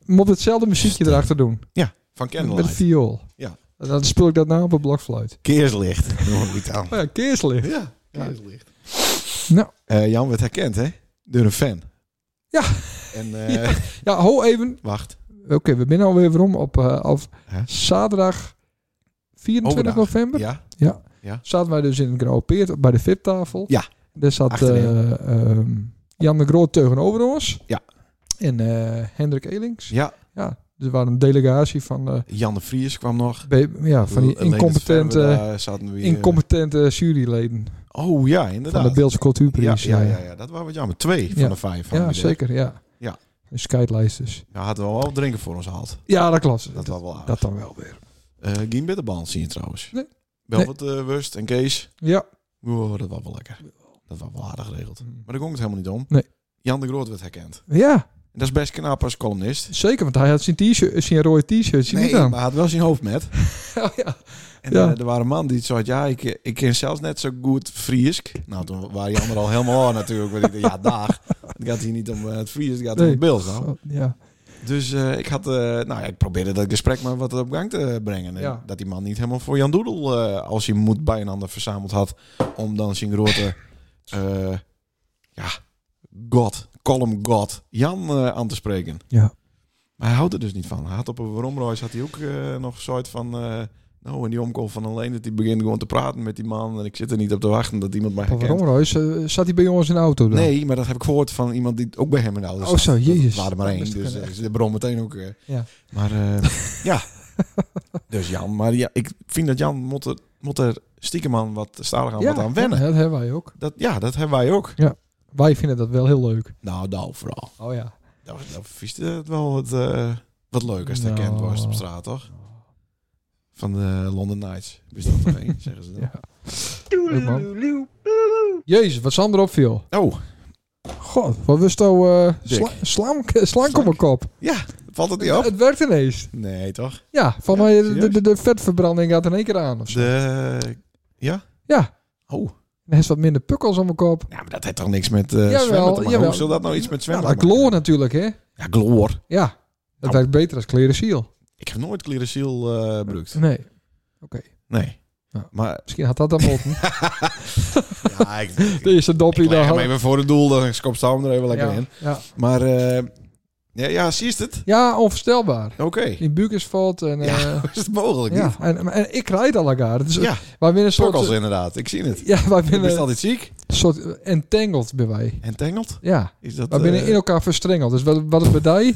S2: Moet hetzelfde muziekje
S3: Stem.
S2: erachter doen.
S3: Van
S2: Met een
S3: Candlelight.
S2: viool.
S3: Ja.
S2: En Dan speel ik dat na op een blokfluit.
S3: Keerslicht. [LAUGHS] Noem ik het aan.
S2: Oh ja, keerslicht.
S3: Ja, keerslicht.
S2: Nou.
S3: Eh, Jan werd herkend, hè? Door een fan.
S2: Ja.
S3: En
S2: [LAUGHS]
S3: eh,
S2: Ja, ho even.
S3: wacht.
S2: Oké, we zijn alweer weer om op, eh, op
S3: Hè?
S2: zaterdag 24
S3: Overdag.
S2: november.
S3: Ja.
S2: Zaten wij dus in het Grauwe Peert bij de VIP-tafel.
S3: Ja.
S2: Daar zat
S3: Achterin.
S2: eh, ehm, Jan de Groot tegenover ons.
S3: Ja.
S2: En eh, Hendrik Elings.
S3: Ja.
S2: Ja, er waren een delegatie van, eh,
S3: Jan de Vries kwam nog.
S2: be- ja, van die
S3: Lenert
S2: incompetente,
S3: Verwe, daar zaten we, eh,
S2: incompetente juryleden
S3: Oh ja,
S2: van
S3: inderdaad.
S2: de Beeldse Cultuurprijs.
S3: ja, ja,
S2: eh.
S3: ja, ja, dat waren we jammer. Twee van
S2: Ja.
S3: de
S2: Ja,
S3: vijf. hadden we er.
S2: zeker, ja.
S3: Ja.
S2: Een skylijst dus.
S3: Ja, hadden we wel wat drinken voor ons gehad.
S2: Ja, dat klopt.
S3: Dat was wel aardig.
S2: dat dan wel weer.
S3: Eh, Geen bitterband zien trouwens.
S2: Nee.
S3: Wel
S2: Nee.
S3: wat eh, Wurst en Kees.
S2: Ja.
S3: Wow, dat was wel lekker. Dat was wel aardig geregeld. Maar daar ging het helemaal niet om.
S2: Mm. Nee.
S3: Jan de Groot werd herkend.
S2: Ja,
S3: En dat is best knap als columnist.
S2: zeker, want hij had zijn t-shirt, zijn rode t-shirt, zie je
S3: Nee,
S2: niet aan.
S3: maar hij had wel zijn hoofd met.
S2: Oh, [LAUGHS] ja.
S3: En
S2: Ja.
S3: eh, er waren man die het zei, ja, ik, ik ken zelfs net zo goed Friesk. Nou, toen waren Jan er al helemaal aan natuurlijk. Want ik dacht, ja, dag. Het gaat hier niet om eh, het Fries, het gaat om
S2: Nee.
S3: het Beels. nou.
S2: Zo, ja.
S3: Dus eh, ik had, eh, nou ja, ik probeerde dat gesprek maar wat op gang te brengen. En
S2: Ja.
S3: Dat die man niet helemaal voor Jan Doedel, eh, als hij moed bij een ander verzameld had, om dan zijn grote, eh, ja, god, column god, Jan eh, aan te spreken.
S2: Ja.
S3: Maar hij houdt er dus niet van. Hij had op een Romreis had hij ook eh, nog een soort van, eh, nou, in die omkoop van alleen dat hij begint gewoon te praten met die man en ik zit er niet op te wachten dat iemand mij
S2: Papa
S3: herkent.
S2: Romroos, eh, zat hij bij ons in de auto dan?
S3: Oh. Nee, maar dat heb ik gehoord van iemand die ook bij hem in de auto
S2: Oh,
S3: zat.
S2: zo,
S3: Dat
S2: jezus.
S3: waren er maar
S2: Dat
S3: één,
S2: wist ik
S3: dus
S2: niet.
S3: eh, ze de bron meteen ook. eh.
S2: Ja.
S3: Maar eh,
S2: [LAUGHS]
S3: ja, dus Jan. Maar ja, ik vind dat Jan moet er, moet er stiekem aan wat stalig aan wat aan wennen.
S2: ja, dat hebben wij ook.
S3: Dat, ja, dat hebben wij ook.
S2: Wij vinden dat wel heel leuk.
S3: Nou, nou vooral.
S2: Oh ja.
S3: Dat, was- dat vies het wel wat, eh, wat leuk als het
S2: Nou.
S3: herkend was op straat, toch? [LAUGHS] Van de London Nights. Is dat er één, zeggen ze dan.
S2: Ja. Leuk man.
S4: slaan?
S2: Jezus, wat Sander opviel.
S3: Oh,
S2: God, wat was nou eh
S3: Dik.
S2: sla- slank, slank op mijn kop?
S3: ja. Valt het niet op?
S2: Het werkt ineens.
S3: Nee, toch?
S2: Ja, van
S3: Ja,
S2: mij de,
S3: serieus?
S2: de, de vetverbranding gaat in één keer aan. Of zo.
S3: De... Ja?
S2: Ja.
S3: Oh.
S2: En hij is wat minder pukkels om mijn kop.
S3: Ja, maar dat heeft toch niks met eh
S2: Jawel,
S3: zwemmen te maken?
S2: jawel.
S3: Hoe zal dat nou iets met
S2: Ja,
S3: zwemmen
S2: dat
S3: te maken
S2: gloor natuurlijk, hè?
S3: Ja, gloor.
S2: Ja, dat
S3: Nou.
S2: werkt beter als klericiel.
S3: Ik heb nooit Clearasil eh gebruikt.
S2: Nee.
S3: Nee.
S2: Nou.
S3: Maar
S2: Misschien had dat dan moeten.
S3: [LAUGHS]
S2: [LAUGHS]
S3: ja, ik, ik
S2: De eerste doppie
S3: leg
S2: daar.
S3: hem even voor het doel, dan kopt Sam er even lekker
S2: ja,
S3: in.
S2: ja.
S3: Maar eh ja, ja, zie je het?
S2: ja, onvoorstelbaar.
S3: Oké.
S2: Die buik is valt en... eh,
S3: Ja, [LAUGHS] is het mogelijk?
S2: ja,
S3: niet?
S2: en, en ik rijd al elkaar. Dus
S3: Ja,
S2: wij winnen een soort...
S3: Tokkels inderdaad, ik zie het.
S2: [LAUGHS] Ja, wij
S3: Je
S2: winnen
S3: bent
S2: een
S3: altijd ziek.
S2: soort entangled bij wij.
S3: En tengelt?
S2: Ja,
S3: Is dat,
S2: wij binnen
S3: eh,
S2: in elkaar verstrengeld. Dus wat, wat het bij die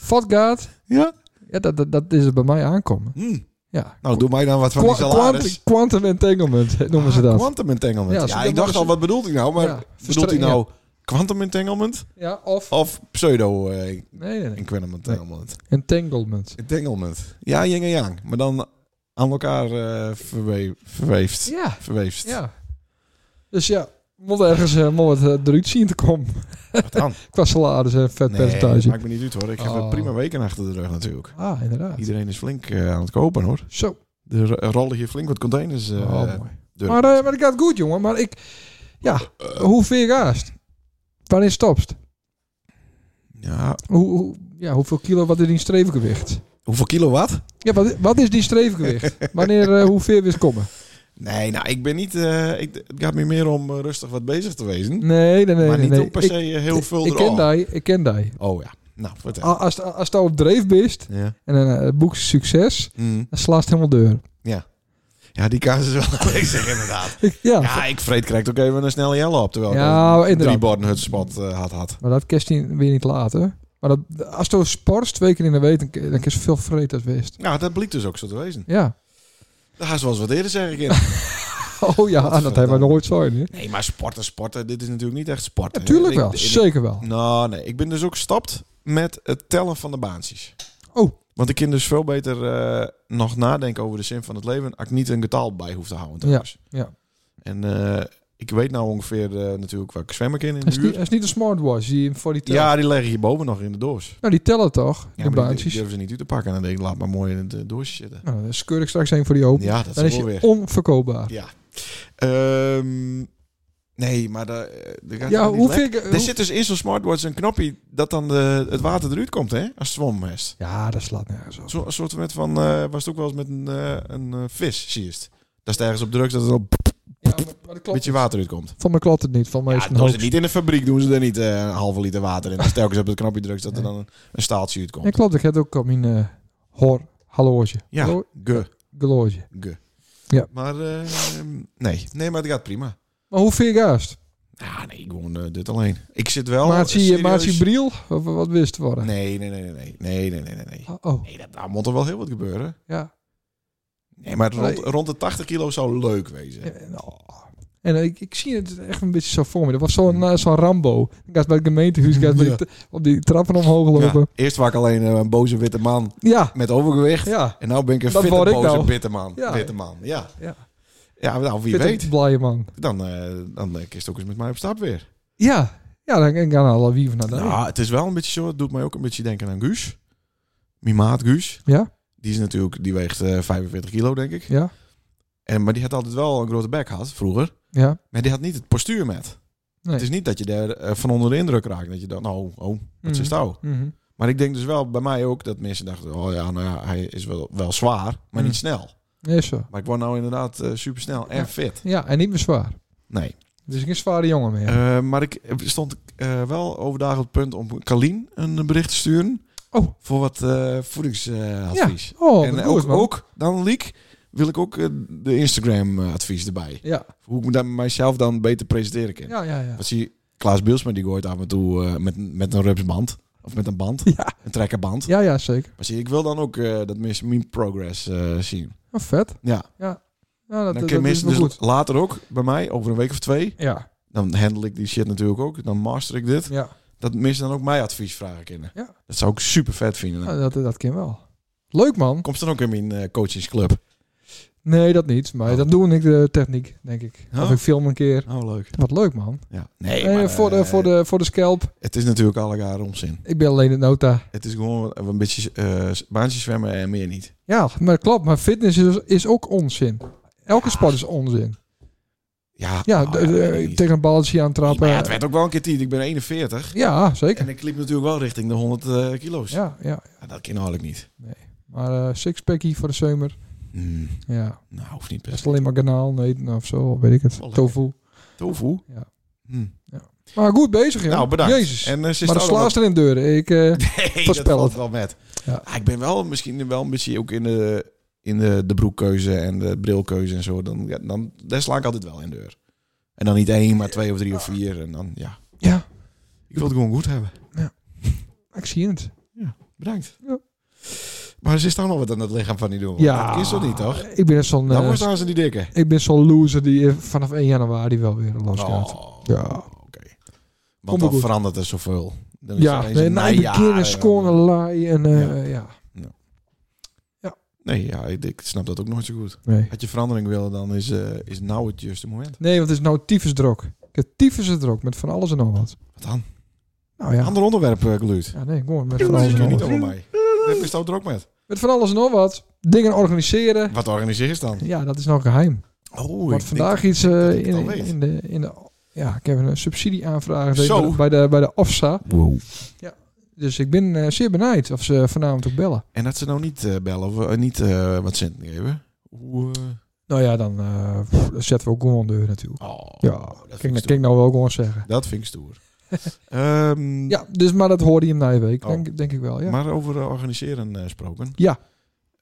S2: vat gaat,
S3: Ja?
S2: ja, dat, dat, dat is het bij mij aankomen.
S3: Hm.
S2: Ja.
S3: Nou, doe mij dan wat van die
S2: Qua-
S3: salaris.
S2: quantum- quantum entanglement eh, noemen ze
S3: Ah,
S2: dat.
S3: Quantum entanglement.
S2: Ja,
S3: Ja,
S2: als je dat
S3: ik dacht
S2: maar
S3: al,
S2: eens-
S3: wat bedoelt hij nou? Maar
S2: Ja,
S3: bedoelt hij
S2: verstreng-
S3: nou quantum entanglement
S2: Ja, of...
S3: of pseudo eh
S2: Nee, nee, nee.
S3: entanglement?
S2: Entanglement.
S3: Entanglement. Ja, yin en yang. Maar dan aan elkaar eh verwe- verweefd.
S2: Ja,
S3: Verweefd.
S2: ja. Dus ja, moet ergens eh moet het eh, eruit zien te komen. [LAUGHS]
S3: Wat dan?
S2: Qua salaris en
S3: Nee, dat
S2: vetpercentage.
S3: maakt me niet uit hoor. Ik heb
S2: Oh.
S3: een prima weken achter de rug natuurlijk.
S2: ah, inderdaad.
S3: Iedereen is flink eh, aan het kopen hoor.
S2: Zo.
S3: Er ro- rollen hier flink wat containers. eh
S2: oh, mooi.
S3: door.
S2: Maar, eh, maar dat gaat goed, jongen. Maar ik... Ja,
S3: Oh.
S2: hoe ver gaast? Wanneer stopst?
S3: ja,
S2: Hoe, hoe, ja, hoeveel kilo wat is die streefgewicht?
S3: hoeveel kilo wat?
S2: Ja, wat, wat is die
S3: [LAUGHS]
S2: streefgewicht? Wanneer, eh, hoe ver we komen?
S3: Nee, nou, ik ben niet. eh, ik, het gaat me meer om eh, rustig wat bezig te wezen.
S2: Nee, nee, nee.
S3: maar
S2: nee,
S3: niet
S2: nee.
S3: om per
S2: Ik-
S3: se eh, heel veel
S2: Ik ken Ah.
S3: erop.
S2: die, ik ken die.
S3: Oh ja. Nou, vertel.
S2: Al- Als, als je op dreef bent
S3: Ja.
S2: en een eh, boek is succes,
S3: Mm.
S2: dan slaat het helemaal deur.
S3: ja, die kaas is wel [LAUGHS] aanwezig inderdaad.
S2: Ik- ja,
S3: Ja, oh, ik vreet krijgt ook even een snelle jelle op. Terwijl
S2: Ja,
S3: ik al drie
S2: inderdaad.
S3: borden hutspot eh, had had.
S2: Maar dat kerst je weer niet laten. Maar dat, als je sport twee keer in de week, dan kun je- dan kun je veel vreed als wist.
S3: Ja, dat bleek dus ook zo te wezen.
S2: Ja.
S3: [LAUGHS] Dat is zoals wat eerder zeg ik in.
S2: [LAUGHS] Oh ja,
S3: Wat
S2: dat hebben we
S3: verdomme.
S2: nooit zo. Hè?
S3: Nee, maar sporten, sporten. Dit is natuurlijk niet echt sporten.
S2: Ja, tuurlijk
S3: Ik-
S2: wel.
S3: ik-
S2: Zeker wel.
S3: Nou, nee. Ik ben dus ook gestapt met het tellen van de baantjes.
S2: Oh.
S3: Want ik kan dus veel beter eh, nog nadenken over de zin van het leven... als ik niet een getal bij hoef te houden trouwens.
S2: ja.
S3: En eh, ik weet nou ongeveer eh, natuurlijk waar ik zwemmen kan in
S2: Dat
S3: de
S2: is, niet,
S3: buurt.
S2: dat is niet een smartwatch die hem voor die telt.
S3: Ja, die leggen hierboven nog in de doos.
S2: Nou, die tellen toch,
S3: Ja,
S2: de
S3: maar die- die
S2: baantjes.
S3: durven ze niet uit te pakken. En dan denk ik, laat maar mooi in de doosje zitten.
S2: Nou, dan skeur ik straks een voor die open.
S3: Ja, dat
S2: dan
S3: is
S2: is
S3: wel
S2: je Oh.
S3: weer.
S2: onverkoopbaar.
S3: Ja. Ehm, nee, maar daar, eh, daar gaat
S2: Ja,
S3: het niet
S2: hoe
S3: lekker.
S2: vind ik...
S3: Er
S2: hoe-
S3: zit dus in zo'n smartwatch een knopje dat dan de, het water eruit komt, hè? Als zwomhest.
S2: Ja, dat slaat nergens op.
S3: Zo, een soort met van, eh, was het ook wel eens met een, eh, een eh, vis, zie je het. Dat is ergens op druk dat er een
S2: Ja, maar, maar dat klopt.
S3: beetje water uit komt.
S2: Van mij klopt het niet. Van mij
S3: Ja,
S2: is het een
S3: doen ze
S2: hoax.
S3: niet in de fabriek, doen ze er niet eh, een halve liter water in. Als telkens op het knopje drukt dat er dan een, een staaltje
S2: Ja,
S3: uitkomt.
S2: klopt. Ik heb het ook op mijn eh, hoor, halloge.
S3: Ja,
S2: Hallo-
S3: ge,
S2: Geloge.
S3: ge.
S2: Oh. Ja.
S3: Maar eh, nee. nee, maar het gaat prima.
S2: Maar hoe ver gaast?
S3: Ja, nee, gewoon eh, dit alleen. Ik zit wel...
S2: Maatje,
S3: Oh, serieus-
S2: maatje Briel? Of wat wist het worden?
S3: Nee, nee, nee, nee, nee, nee, nee, nee, nee, nee.
S2: Oh, oh,
S3: Nee, dat, daar moet er wel heel wat gebeuren.
S2: ja.
S3: Nee, maar
S2: Maar-
S3: rond, rond de 80 kilo zou leuk wezen.
S2: Ja, En, oh. En ik, ik zie het echt een beetje zo voor me. Dat was zo'n eh, zo'n Rambo. Ik gaat bij het gemeentehuis,
S3: [LAUGHS]
S2: ik had bij
S3: Hmm. Ja.
S2: die t- op die trappen omhoog lopen.
S3: Ja, eerst was ik alleen eh, een boze witte man
S2: Ja,
S3: met overgewicht.
S2: ja.
S3: En nu ben ik een
S2: Dat
S3: fitte
S2: word ik
S3: boze
S2: nou.
S3: witte man.
S2: Ja.
S3: Witte man, ja.
S2: Ja.
S3: Ja, nou, wie
S2: Fit en
S3: weet.
S2: blije man.
S3: Dan, eh dan eh, kist ook eens met mij op stap weer.
S2: Ja, ja dan dan gaan alle wieven naar daar.
S3: Nou, het is wel een beetje zo. Het doet mij ook een beetje denken aan Guus. Mijn maat Guus.
S2: Ja,
S3: Die is natuurlijk, die weegt eh, 45 kilo, denk ik.
S2: ja,
S3: En, maar die had altijd wel een grote bek gehad, vroeger.
S2: ja.
S3: Maar die had niet het postuur met.
S2: Nee.
S3: Het is niet dat je daar eh, van onder de indruk raakt. Dat je dan, nou, oh, wat is
S2: Mhm.
S3: nou?
S2: Mhm.
S3: Maar ik denk dus wel bij mij ook dat mensen dachten: oh ja, nou ja, hij is wel, wel zwaar, maar
S2: Mm.
S3: niet snel.
S2: Nee, zo.
S3: Maar ik word nou inderdaad super supersnel en
S2: Ja.
S3: fit.
S2: Ja, en niet meer zwaar.
S3: Nee.
S2: Dus ik een zware jongen meer.
S3: Eh, maar ik eh, stond eh, wel overdag op het punt om Kalien een bericht te sturen.
S2: Oh.
S3: Voor wat eh, voedingsadvies.
S2: oh,
S3: en
S2: wat
S3: eh,
S2: goed,
S3: ook,
S2: man.
S3: ook dan Liek wil ik ook eh, de Instagram-advies erbij.
S2: Ja,
S3: Hoe ik dan mijzelf dan beter presenteren kan.
S2: ja, ja. ja.
S3: Wat zie je? Klaas Beelsma die gooit af en toe eh, met, met een rupsband. Of met een band.
S2: [LAUGHS] Ja.
S3: Een trekkerband.
S2: Ja, ja, zeker.
S3: Maar zie, je, ik wil dan ook eh, dat mensen mijn progress eh, zien.
S2: Oh, vet.
S3: Ja,
S2: Ja, dat, dat,
S3: dan kun je
S2: is
S3: mensen
S2: wel
S3: dus
S2: goed.
S3: later ook bij mij, over een week of twee,
S2: Ja,
S3: dan handel ik die shit natuurlijk ook, dan master ik dit,
S2: ja.
S3: dat mensen dan ook mij advies vragen kunnen.
S2: Ja. Nou,
S3: Dat zou ik super vet vinden.
S2: ja dat, dat kan wel. Leuk, man.
S3: Kom ze dan ook in mijn eh, coachingsclub.
S2: Nee, dat niet. Maar
S3: Oh.
S2: dan doe ik de techniek, denk ik.
S3: Oh.
S2: Of ik film een keer.
S3: Oh, leuk.
S2: Wat leuk, man.
S3: Ja. Nee,
S2: Eh,
S3: maar,
S2: voor, de,
S3: eh,
S2: voor, de, voor de scalp.
S3: Het is natuurlijk allegaar onzin.
S2: Ik ben alleen het nota.
S3: Het is gewoon een beetje eh baantje zwemmen en meer niet.
S2: Ja, maar klopt. Maar fitness is, is ook onzin. Elke sport is onzin.
S3: Ja,
S2: Ja,
S3: nou,
S2: de- de-
S3: weet ik niet.
S2: tegen een balletje aantrappen.
S3: Maar ja, het werd ook wel een keer tijd. Ik ben 41
S2: Ja, zeker.
S3: en ik liep natuurlijk wel richting de 100 eh, kilo's.
S2: Ja, ja.
S3: Ja, dat kan eigenlijk niet.
S2: Maar eh sixpackie voor de zomer.
S3: Hmm,
S2: Ja,
S3: nou, hoeft niet
S2: dat
S3: best.
S2: is alleen maar kanaal eten of zo, weet ik
S3: Wel
S2: het.
S3: lekker.
S2: Tofu.
S3: Tofu.
S2: Ja.
S3: Hmm.
S2: Maar goed bezig, ja.
S3: Nou, bedankt.
S2: Jezus.
S3: En, eh, ze
S2: maar de
S3: staat allemaal-
S2: slaas er in deuren. Ik, eh,
S3: [LAUGHS] Nee, dat
S2: Voorspel
S3: valt
S2: het.
S3: wel met.
S2: Ja.
S3: Ah, ik ben wel misschien wel een beetje ook in de, in de, de broekkeuze en de brilkeuze en zo. Dan, ja, dan, daar sla ik altijd wel in de deur. En dan niet één, maar twee of drie of vier. En dan, ja.
S2: ja,
S3: Ik wil het gewoon goed hebben.
S2: ik zie het.
S3: Bedankt.
S2: Ja.
S3: Maar ze staan nog wat aan het lichaam van die doen.
S2: Ja.
S3: Oh, Dat is toch niet, toch? Nou,
S2: Ik ben zo'n
S3: Dan
S2: eh,
S3: wordt staan ze die dikke.
S2: ik ben zo'n loser die eh, vanaf 1 januari wel weer los gaat.
S3: Oh,
S2: Ja.
S3: Oké.
S2: maar
S3: Want dan
S2: goed.
S3: verandert er zoveel. Dan is
S2: Ja,
S3: er eens
S2: nee, nou,
S3: een
S2: nee,
S3: najaar eh,
S2: beginnen,
S3: en-
S2: scoren, laai en eh, ja.
S3: Nee, ja, ik, ik snap dat ook nooit zo goed.
S2: Nee.
S3: Had je verandering willen, dan is, eh, is nou het juiste moment.
S2: nee, want het is nou tyfusdrok. Ik heb tyfusdrok met van alles en nog wat.
S3: Wat dan?
S2: Nou ja.
S3: Ander onderwerp, eh Gluut.
S2: Ja, nee, gewoon met
S3: Dat
S2: van alles
S3: is
S2: en
S3: er
S2: nog
S3: niet
S2: wat.
S3: allemaal bij. Daar is er ook met.
S2: Met van alles en nog wat. Dingen organiseren.
S3: Wat organiseer je dan?
S2: Ja, dat is nou geheim.
S3: Oh,
S2: Wordt
S3: ik
S2: vandaag
S3: denk-
S2: iets eh,
S3: dat ik het al
S2: in,
S3: weet.
S2: in de, in de... Ja, ik heb een subsidieaanvraag bij
S3: Zo.
S2: de, bij de, bij de OFSA.
S3: Wow.
S2: Dus ik ben eh, zeer benijd of ze vanavond ook bellen.
S3: En dat ze nou niet eh, bellen of eh, niet eh, wat zin geven. Hoe, eh,
S2: Nou ja, dan eh, pff, dan zetten we ook gewoon deur natuurlijk.
S3: oh,
S2: Ja,
S3: dat
S2: Kijk,
S3: vind
S2: dat
S3: ik
S2: kan
S3: stoer.
S2: ik nou wel gewoon zeggen.
S3: Dat vind ik
S2: [LAUGHS]
S3: stoer. Ehm,
S2: Ja, dus, maar dat hoorde je hem na je week,
S3: Oh.
S2: denk, denk ik wel. Ja.
S3: Maar over eh, organiseren eh gesproken.
S2: Ja.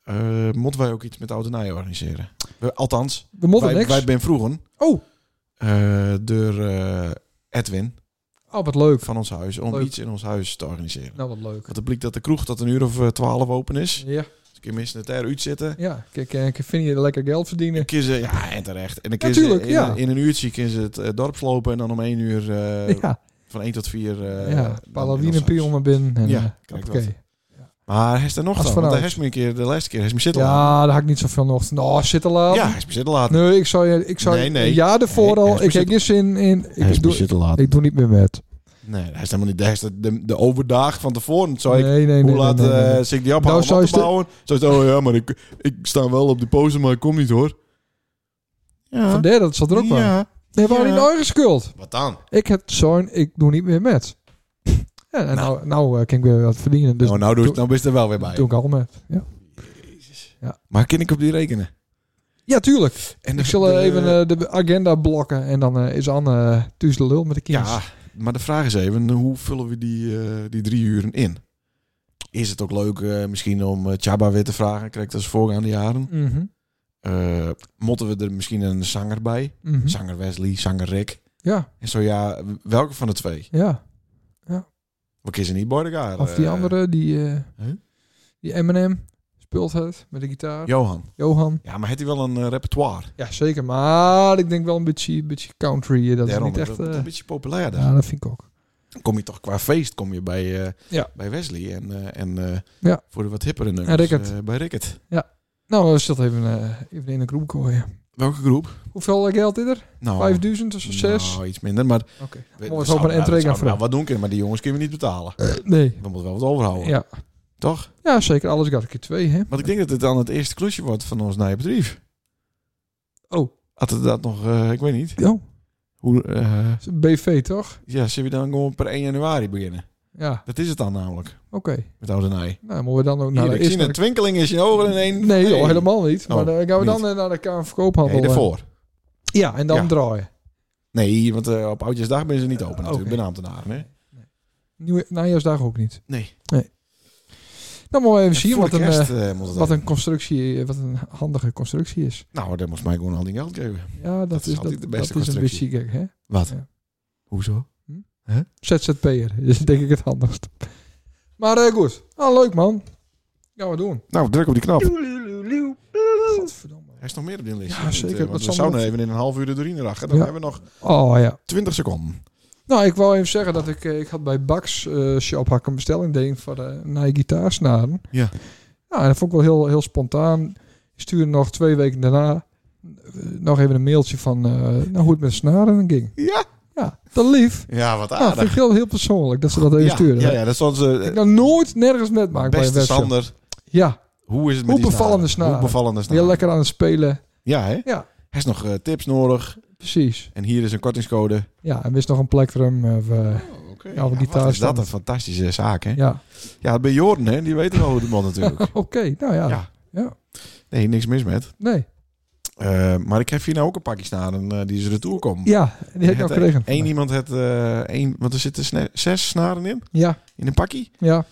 S3: Eh, moeten wij ook iets met Oude Nijen organiseren? We- althans,
S2: we mochten
S3: wij,
S2: niks.
S3: wij ben vroeger
S2: oh,
S3: eh, door eh, Edwin
S2: oh, wat leuk.
S3: van ons huis om
S2: Leuk.
S3: iets in ons huis te organiseren.
S2: Nou, wat leuk.
S3: Want het blijkt dat de kroeg tot een uur of eh, twaalf open is.
S2: Ja,
S3: Dus ik kan mensen het er uit zitten.
S2: ja. Kijk, eh, ik vind je lekker geld verdienen.
S3: Dan kun ze, ja, en terecht. En dan kun
S2: Ja,
S3: ze
S2: tuurlijk,
S3: in,
S2: ja.
S3: in een uurtje kun ze het eh, dorp slopen en dan om één uur eh,
S2: ja,
S3: van één tot vier. eh, dan
S2: ja.
S3: in ons
S2: Palawine
S3: huis.
S2: pion naar binnen. En,
S3: Ja,
S2: eh,
S3: kijk
S2: hoppakee.
S3: wat. Maar hij is er nog
S2: Als
S3: dan, want hij
S2: vanouds.
S3: heeft me een keer de laatste keer, hij is me zitten laten.
S2: Ja, daar had ik niet zoveel nog. Nou, zit er laat.
S3: Ja, hij is me zitten laten.
S2: Nee, ik zou je... Ik zou,
S3: Nee, nee.
S2: Een jaar ervoor
S3: Nee, hij
S2: al.
S3: is
S2: Ik heb
S3: bezit-
S2: geen zin in...
S3: hij is
S2: Ik
S3: me
S2: doe,
S3: zitten laten.
S2: ik doe niet meer met.
S3: Nee, hij is helemaal niet. Hij is de, de, de overdag van tevoren. Zou ik,
S2: Nee, nee, nee.
S3: hoe
S2: nee,
S3: laat
S2: nee, nee, nee.
S3: eh, zit ik die ophalen
S2: Nou,
S3: om
S2: zou
S3: op
S2: je
S3: te
S2: stu-
S3: bouwen? Zou je zeggen, oh ja, maar ik, ik sta wel op de poster, maar ik kom niet hoor. Ja.
S2: Vandaar dat ze er ook wel.
S3: ja.
S2: Nee, we hadden
S3: Ja.
S2: niet eigen schuld.
S3: Wat dan?
S2: Ik heb zo'n... Ik doe niet meer met. Ja, en nou, nou, eh, kan ik weer wat verdienen. Dus
S3: nou, nou, doe,
S2: doe-
S3: nou ben je er wel weer bij.
S2: doe ik al met. Ja,
S3: Maar kan ik op die rekenen?
S2: ja tuurlijk.
S3: En de-
S2: Ik zal
S3: de-
S2: eh, even eh, de agenda blokken. En dan eh, is Anne eh, thuis de lul met de kinderen.
S3: ja, maar de vraag is even, hoe vullen we die, eh, die drie uren in? Is het ook leuk eh, misschien om eh, Chaba weer te vragen? Krijg ik dat als voorgaande jaren?
S2: Mhm,
S3: Eh, motten we er misschien een zanger bij?
S2: mhm.
S3: Zanger Wesley, zanger Rick.
S2: Ja,
S3: En zo ja, welke van de twee?
S2: ja.
S3: We kiezen niet Bordegaard.
S2: Of die
S3: eh,
S2: andere, die, eh,
S3: huh?
S2: die Eminem speelt het met de gitaar.
S3: Johan.
S2: Johan.
S3: Ja, maar heeft hij wel een eh, repertoire?
S2: Ja, zeker. Maar ik denk wel een beetje, beetje country. eh, Dat
S3: Daarom,
S2: is niet echt...
S3: dat- dat
S2: eh,
S3: een beetje populair daar.
S2: ja, dat vind ik ook.
S3: Kom je toch qua feest kom je bij, eh,
S2: Ja.
S3: bij Wesley en, eh, en eh,
S2: Ja.
S3: voor de wat hippere nummers
S2: En Rickert.
S3: eh, bij Rickert.
S2: Nou, we zullen even, eh, even in de groep gooien.
S3: Welke groep?
S2: Hoeveel eh, geld is er?
S3: Nou,
S2: 5000 of zo? 6?
S3: nou, iets minder, maar
S2: Oké.
S3: we, nou,
S2: Moeten we
S3: zouden-
S2: ook maar een entree
S3: we
S2: gaan
S3: zouden wel
S2: vragen.
S3: wat doen kunnen, maar die jongens kunnen we niet betalen.
S2: Nee.
S3: We moeten wel wat overhouden,
S2: Ja.
S3: Oh. toch?
S2: ja, zeker. Alles gaat een keer twee, hè?
S3: Want ik denk dat dit dan het eerste klusje wordt van ons nieuwe bedrijf.
S2: Oh.
S3: Had het dat nog, eh, ik weet niet.
S2: Oh,
S3: Hoe, eh,
S2: is een BV toch?
S3: ja, zullen we dan gewoon per 1 januari beginnen?
S2: Ja,
S3: Dat is het dan namelijk,
S2: oké.
S3: met oude Nij.
S2: Nou, moeten we dan ook naar
S3: Hier,
S2: de
S3: ik zie een
S2: eerste...
S3: twinkeling in je ogen in één.
S2: Nee, joh, helemaal niet.
S3: Oh,
S2: maar dan gaan we dan
S3: niet.
S2: eh, naar de Kamer van Koophandel.
S3: Nee,
S2: eh.
S3: daarvoor.
S2: Ja, en dan
S3: Ja.
S2: draaien.
S3: Nee, want eh, op Oudjesdag ben ze niet open
S2: Eh,
S3: natuurlijk,
S2: oké.
S3: bij ambtenaren. Hè?
S2: Nieuwe, najaarsdag ook niet.
S3: Nee.
S2: Dan moeten we even
S3: Zie
S2: zien
S3: voor
S2: wat
S3: de
S2: een,
S3: kerst
S2: eh,
S3: eh, moet het
S2: wat
S3: dan.
S2: een constructie, eh, wat een handige constructie is.
S3: Nou, dat moest mij gewoon al die geld geven.
S2: Ja, dat,
S3: Dat is
S2: is, dat,
S3: altijd de beste
S2: dat is een beetje
S3: constructie.
S2: gek, hè?
S3: Wat?
S2: Ja.
S3: Hoezo?
S2: ZZP'er [LAUGHS] is denk ik het handigst. Maar eh, goed, ah, leuk man. Gaan we doen.
S3: Nou, druk op die knap.
S2: Godverdomme.
S3: Er is nog meer op die lijst.
S2: Ja, zeker. Wat
S3: Want we
S2: zal
S3: zouden
S2: dat-
S3: even in een half uur er doorheen raken. Dan
S2: Ja.
S3: hebben we nog
S2: Oh ja.
S3: 20 seconden.
S2: Nou, ik wou even zeggen dat ik, eh, ik had bij Bax eh Shop had ik een bestelling deed voor de Nike gitaarsnaren.
S3: Ja.
S2: Nou, en dat vond ik wel heel, heel spontaan. stuurde nog twee weken daarna eh, nog even een mailtje van eh, nou, hoe het met de snaren ging.
S3: Ja.
S2: Ja, Ah, te lief.
S3: Ja, wat
S2: Ja, vind
S3: aardig.
S2: ik heel, heel persoonlijk dat ze dat even
S3: ja,
S2: stuurden.
S3: ja, ja, dat stond
S2: Ik
S3: ze.
S2: heb nooit nergens met maken bij een
S3: Beste
S2: webshop.
S3: Sander,
S2: Ja,
S3: hoe is het met
S2: Hoe
S3: die
S2: bevallende snaren.
S3: Hoe bevallende snaren.
S2: heel lekker aan het spelen.
S3: Ja, hè?
S2: Ja.
S3: Hij is nog eh, tips nodig.
S2: Precies.
S3: En hier is een kortingscode.
S2: Ja, en wist nog een plektrum. eh, we-
S3: Oké.
S2: Ja, op een
S3: wat is dat
S2: gitaarstand.
S3: een fantastische zaak, hè? Ja,
S2: ja,
S3: bij Jordan, hè? Die weten wel hoe de man natuurlijk.
S2: [LAUGHS] oké. nou ja.
S3: Ja. Nee, niks mis met.
S2: Nee.
S3: Eh, maar ik heb hier nou ook een pakje snaren eh, die ze retour komen.
S2: Ja, die heb ik
S3: Het-
S2: nou gekregen.
S3: Eén iemand het, eh één, want er zitten sne- zes snaren in,
S2: Ja,
S3: in een pakje.
S2: ja.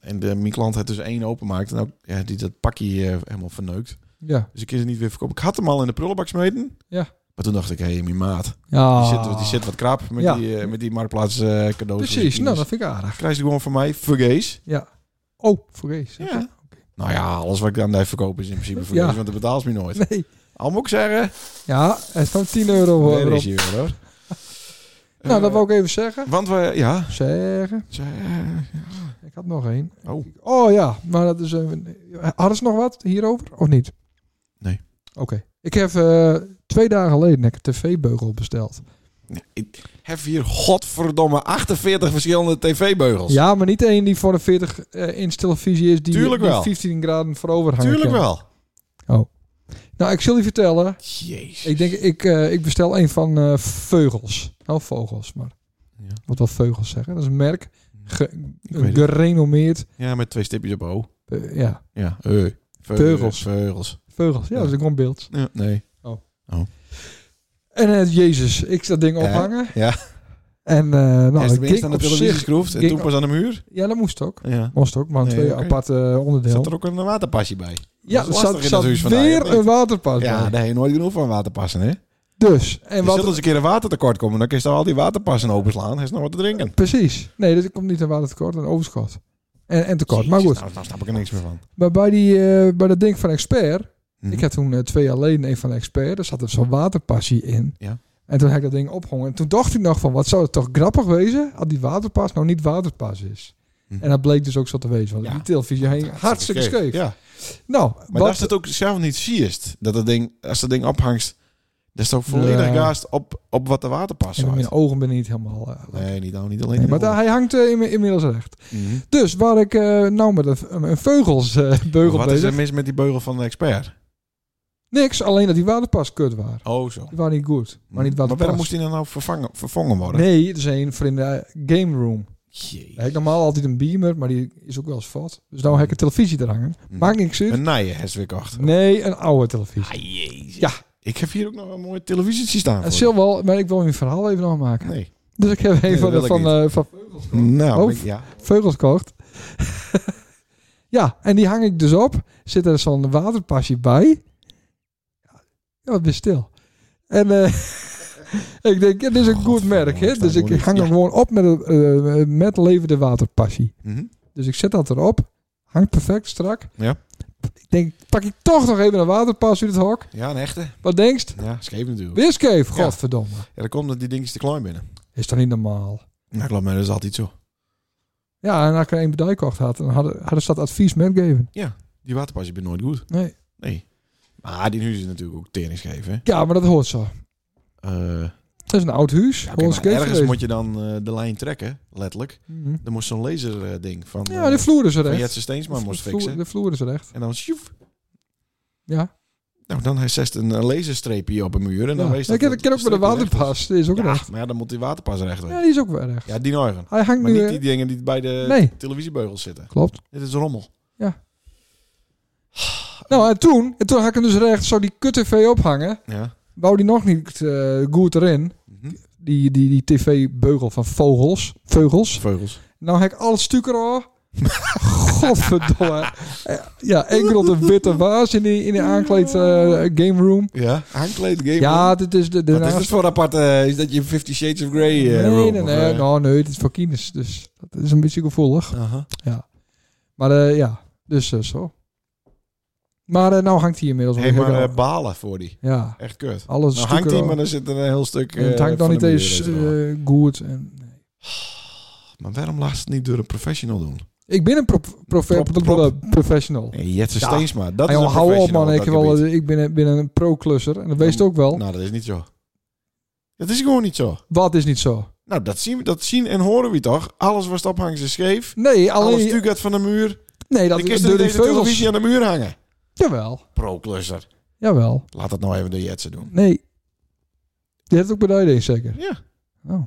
S3: En de, mijn klant had dus één openmaakt en ook, ja, die dat pakje eh, helemaal verneukt.
S2: Ja.
S3: Dus ik is het niet weer verkopen. Ik had hem al in de prullenbak smeten.
S2: Ja.
S3: Maar toen dacht ik, hé, hey, mijn maat, die,
S2: ja.
S3: zit, die zit wat krap met
S2: Ja.
S3: die, eh, met die marktplaats eh, cadeaus.
S2: Precies, nou dat
S3: dat
S2: vind ik aardig.
S3: krijg je gewoon van mij, vergees.
S2: Oh, vergees.
S3: Ja. Nou ja, alles wat ik aan blijf verkopen is in principe vergees,
S2: Ja.
S3: want dat betaalt ze me nooit.
S2: Nee.
S3: Al moet ik zeggen,
S2: Ja, er staan 10 euro
S3: nee,
S2: eh,
S3: dat
S2: erop.
S3: is hier wel, hoor.
S2: [LAUGHS] Nou, dat
S3: Eh,
S2: wou ik even zeggen.
S3: Want we, ja,
S2: Zeggen.
S3: ze- eh,
S2: Ik had nog één.
S3: Oh.
S2: Oh ja, maar dat is... een- hadden ze nog wat hierover of niet?
S3: Nee.
S2: Oké. Ik heb eh, twee dagen geleden heb ik een tv-beugel besteld.
S3: Nee, ik heb hier godverdomme 48 verschillende tv-beugels.
S2: Ja, maar niet één die voor een 40 eh inch televisie is die,
S3: Tuurlijk
S2: die
S3: wel.
S2: 15 graden voorover hangt.
S3: Tuurlijk wel.
S2: Nou, ik zal je vertellen.
S3: Jezus.
S2: Ik denk, ik, eh, ik bestel een van eh, Vogels. Nou, Vogels, maar
S3: Ja.
S2: wat wil Vogels zeggen? Dat is een merk, ge-
S3: weet het.
S2: gerenommeerd.
S3: Ja, met twee stipjes op O.
S2: eh, ja,
S3: Ja, eh.
S2: Teugels.
S3: Veugels.
S2: Vogels. Ja,
S3: Ja.
S2: dat is Nou, een gewoon beeld.
S3: Ja, nee.
S2: En eh, Jezus, ik dat ding
S3: Ja,
S2: ophangen.
S3: ja.
S2: En eh nou,
S3: Nou, Hij is
S2: het
S3: tenminste
S2: ging
S3: aan de
S2: op
S3: televisie
S2: zich...
S3: geschroefd en
S2: ging
S3: toen pas aan de muur.
S2: Ja, dat moest ook.
S3: Ja.
S2: Moest ook, maar
S3: Nee,
S2: twee
S3: oké.
S2: aparte eh, onderdelen.
S3: Zat er ook een waterpasje bij?
S2: ja,
S3: dat
S2: er
S3: is
S2: zat,
S3: lastig in
S2: zat
S3: dat huis vandaag,
S2: weer
S3: of niet?
S2: een waterpas
S3: ja,
S2: bij.
S3: daar heb je nooit genoeg van waterpassen, hè?
S2: Dus, en
S3: En
S2: wat...
S3: wat... als een keer een watertekort komen, dan kun je dan al die waterpassen openslaan. Hij is nog wat te drinken.
S2: Precies. Nee, dat komt niet een watertekort, een overschot. En, en tekort, maar
S3: Jezus,
S2: goed.
S3: Nou, nou snap ik er niks meer van.
S2: Maar bij, die, eh, bij dat ding van Expert...
S3: Mhm.
S2: Ik had toen eh, twee jaar geleden een van de Expert. Daar zat er zo'n waterpassie in.
S3: Ja.
S2: En toen heb ik dat ding opgehangen. En toen dacht ik nog van, wat zou het toch grappig wezen... als die waterpas nou niet waterpas is.
S3: Hm.
S2: En dat bleek dus ook zo te wezen. Want
S3: Ja.
S2: die televisie hing Dus hartstikke scheef.
S3: Ja.
S2: Nou,
S3: Maar
S2: wat,
S3: dat is het ook zelf niet siest. Dat het ding, als dat ding ophangt, dat is het ook volledig
S2: Nee.
S3: gaast op, op wat de water past.
S2: en mijn ogen ben niet helemaal... eh,
S3: Nee, niet, nou, niet alleen.
S2: nee,
S3: de
S2: maar daar, hij hangt eh, inmi- inmiddels recht.
S3: ogen. Mhm.
S2: Dus waar ik eh, nou met een, een veugels eh, beugel
S3: Wat is
S2: bezig...
S3: er mis met die beugel van de expert?
S2: Niks, alleen dat die waterpas kut waren.
S3: Oh, zo.
S2: Die waren niet goed. Maar niet waterpas.
S3: waarom moest die dan nou vervangen, vervangen worden?
S2: Nee, het is een voor in de game room.
S3: Jee.
S2: Ja, Ik normaal altijd een beamer, maar die is ook wel eens vat. Dus nou heb ik een televisie er hangen. Maakt niks uit.
S3: Hm. Een nijen heeft weer kocht.
S2: Nee, een oude televisie.
S3: Ah, jezus.
S2: Ja.
S3: Ik heb hier ook nog een mooie televisie staan.
S2: Het
S3: voor
S2: zal wel, maar ik wil mijn verhaal even nog
S3: je.
S2: maken.
S3: Nee.
S2: Dus ik heb
S3: Nee,
S2: even
S3: dat wil ik
S2: van, eh,
S3: niet.
S2: van
S3: Nou,
S2: Oh,
S3: ben ik- ja.
S2: Vogels gekocht. [LAUGHS] ja, en die hang ik dus op. Zit er zo'n waterpasje bij. Ja, wat ben je stil. En eh, [LAUGHS] ik denk, ja, dit is een goed
S3: Oh, Godverdomme,
S2: merk.
S3: ik
S2: Hè?
S3: sta
S2: Dus ik
S3: gewoon niet-
S2: hang hem
S3: Ja.
S2: gewoon op met, een, eh, met levende waterpasje.
S3: Mhm.
S2: Dus ik zet dat erop. Hangt perfect strak.
S3: Ja.
S2: Ik denk, pak ik toch nog even een waterpas uit het hok.
S3: ja, een echte.
S2: Wat denkst?
S3: Ja, scheef natuurlijk.
S2: Weer scheef,
S3: Ja.
S2: godverdomme.
S3: Ja, dan komt dat die dingetjes te klein binnen.
S2: Is dat niet normaal?
S3: Nou, ik laat mij dat is altijd zo.
S2: Ja, en als ik er één bedrijf kocht had, dan hadden, hadden ze dat advies metgegeven.
S3: Die waterpasje ben nooit goed.
S2: Nee.
S3: Nee. Maar die huis is natuurlijk ook tering geven. hè?
S2: Ja, maar dat hoort zo.
S3: Eh,
S2: Dat is een oud huis.
S3: Ja,
S2: Ja,
S3: oké,
S2: gewoon
S3: maar
S2: scheef
S3: ergens
S2: geweest.
S3: moet je dan eh, de lijn trekken, letterlijk.
S2: Mhm.
S3: Dan moest zo'n laserding van,
S2: Ja,
S3: eh,
S2: de vloer is
S3: van
S2: recht.
S3: Jetse Steensma
S2: de,
S3: moest
S2: vloer-
S3: fixen.
S2: de vloer is recht.
S3: En dan sjoef.
S2: Ja.
S3: Nou, dan hij zet een eh, laserstreepje op een muur. En dan
S2: ja.
S3: nou, wees dat
S2: ik heb, ik heb ook met de
S3: streepje recht is.
S2: waterpas. Die is ook
S3: Ja,
S2: recht.
S3: maar ja, dan moet die waterpas recht
S2: Ja,
S3: weg.
S2: die is ook wel recht.
S3: Ja, die neugen.
S2: Hij hangt
S3: Maar
S2: nu...
S3: niet
S2: eh,
S3: die dingen die bij de
S2: Nee.
S3: televisiebeugels zitten.
S2: Klopt.
S3: Dit is rommel.
S2: Nou, en toen, en toen had ik hem dus recht, zou die kut tv ophangen.
S3: Ja.
S2: Wou die nog niet eh, goed erin.
S3: Mhm.
S2: Die, die, die tv-beugel van vogels. Vogels.
S3: Vogels.
S2: Nou heb ik al het stuk eraf.
S3: [LAUGHS]
S2: Godverdomme. Eh, Ja, enkel de witte waas in die, in die aankleed eh, game room.
S3: Ja. Aankleed game.
S2: Ja, dit is de... de
S3: Wat is dat voor apart? eh, is dat je Fifty Shades of Grey eh,
S2: Dus nou nee,
S3: room,
S2: nee, nee,
S3: of,
S2: nee,
S3: eh?
S2: nou, nee, het is voor kines, dus dat is een beetje gevoelig.
S3: Aha.
S2: Maar eh, ja, dus eh, zo. Maar eh, nou hangt hij inmiddels
S3: Hey,
S2: weer
S3: maar
S2: erop.
S3: eh, balen voor die.
S2: Ja,
S3: Echt kut.
S2: alles
S3: Nou
S2: stukken
S3: hangt die,
S2: eraf.
S3: maar dan zit er een heel stuk.
S2: En het
S3: eh,
S2: hangt nog
S3: van
S2: niet
S3: de muur
S2: eens
S3: is er nog.
S2: eh, goed. En,
S3: Maar waarom laat ze het niet door een professional doen?
S2: Ik ben een prof- prof-
S3: Prop, prop.
S2: professional.
S3: Nee, Jetse
S2: Ja.
S3: Steensma. Dat
S2: Hey,
S3: is
S2: jongen,
S3: een
S2: hou op man, ik,
S3: professional op
S2: wel,
S3: dat
S2: eh, ik ben, een- ben een pro-klusser. En dat wees het ook wel.
S3: gebied. Nou, dat is niet zo. Dat is gewoon niet zo.
S2: Wat is niet zo?
S3: Nou, dat zien, we- dat zien en horen we toch? Alles wat ophangt is scheef.
S2: Nee,
S3: Alles
S2: alleen...
S3: stuurt van de muur.
S2: Nee, dat
S3: ik
S2: is
S3: kist
S2: door
S3: niet
S2: die
S3: eens de televisie
S2: veugels.
S3: aan de muur hangen.
S2: Jawel,
S3: Pro-cluster.
S2: jawel.
S3: Laat dat nou even de Jetse doen.
S2: Nee. Die heeft ook beduiding zeker?
S3: Ja.
S2: Oh.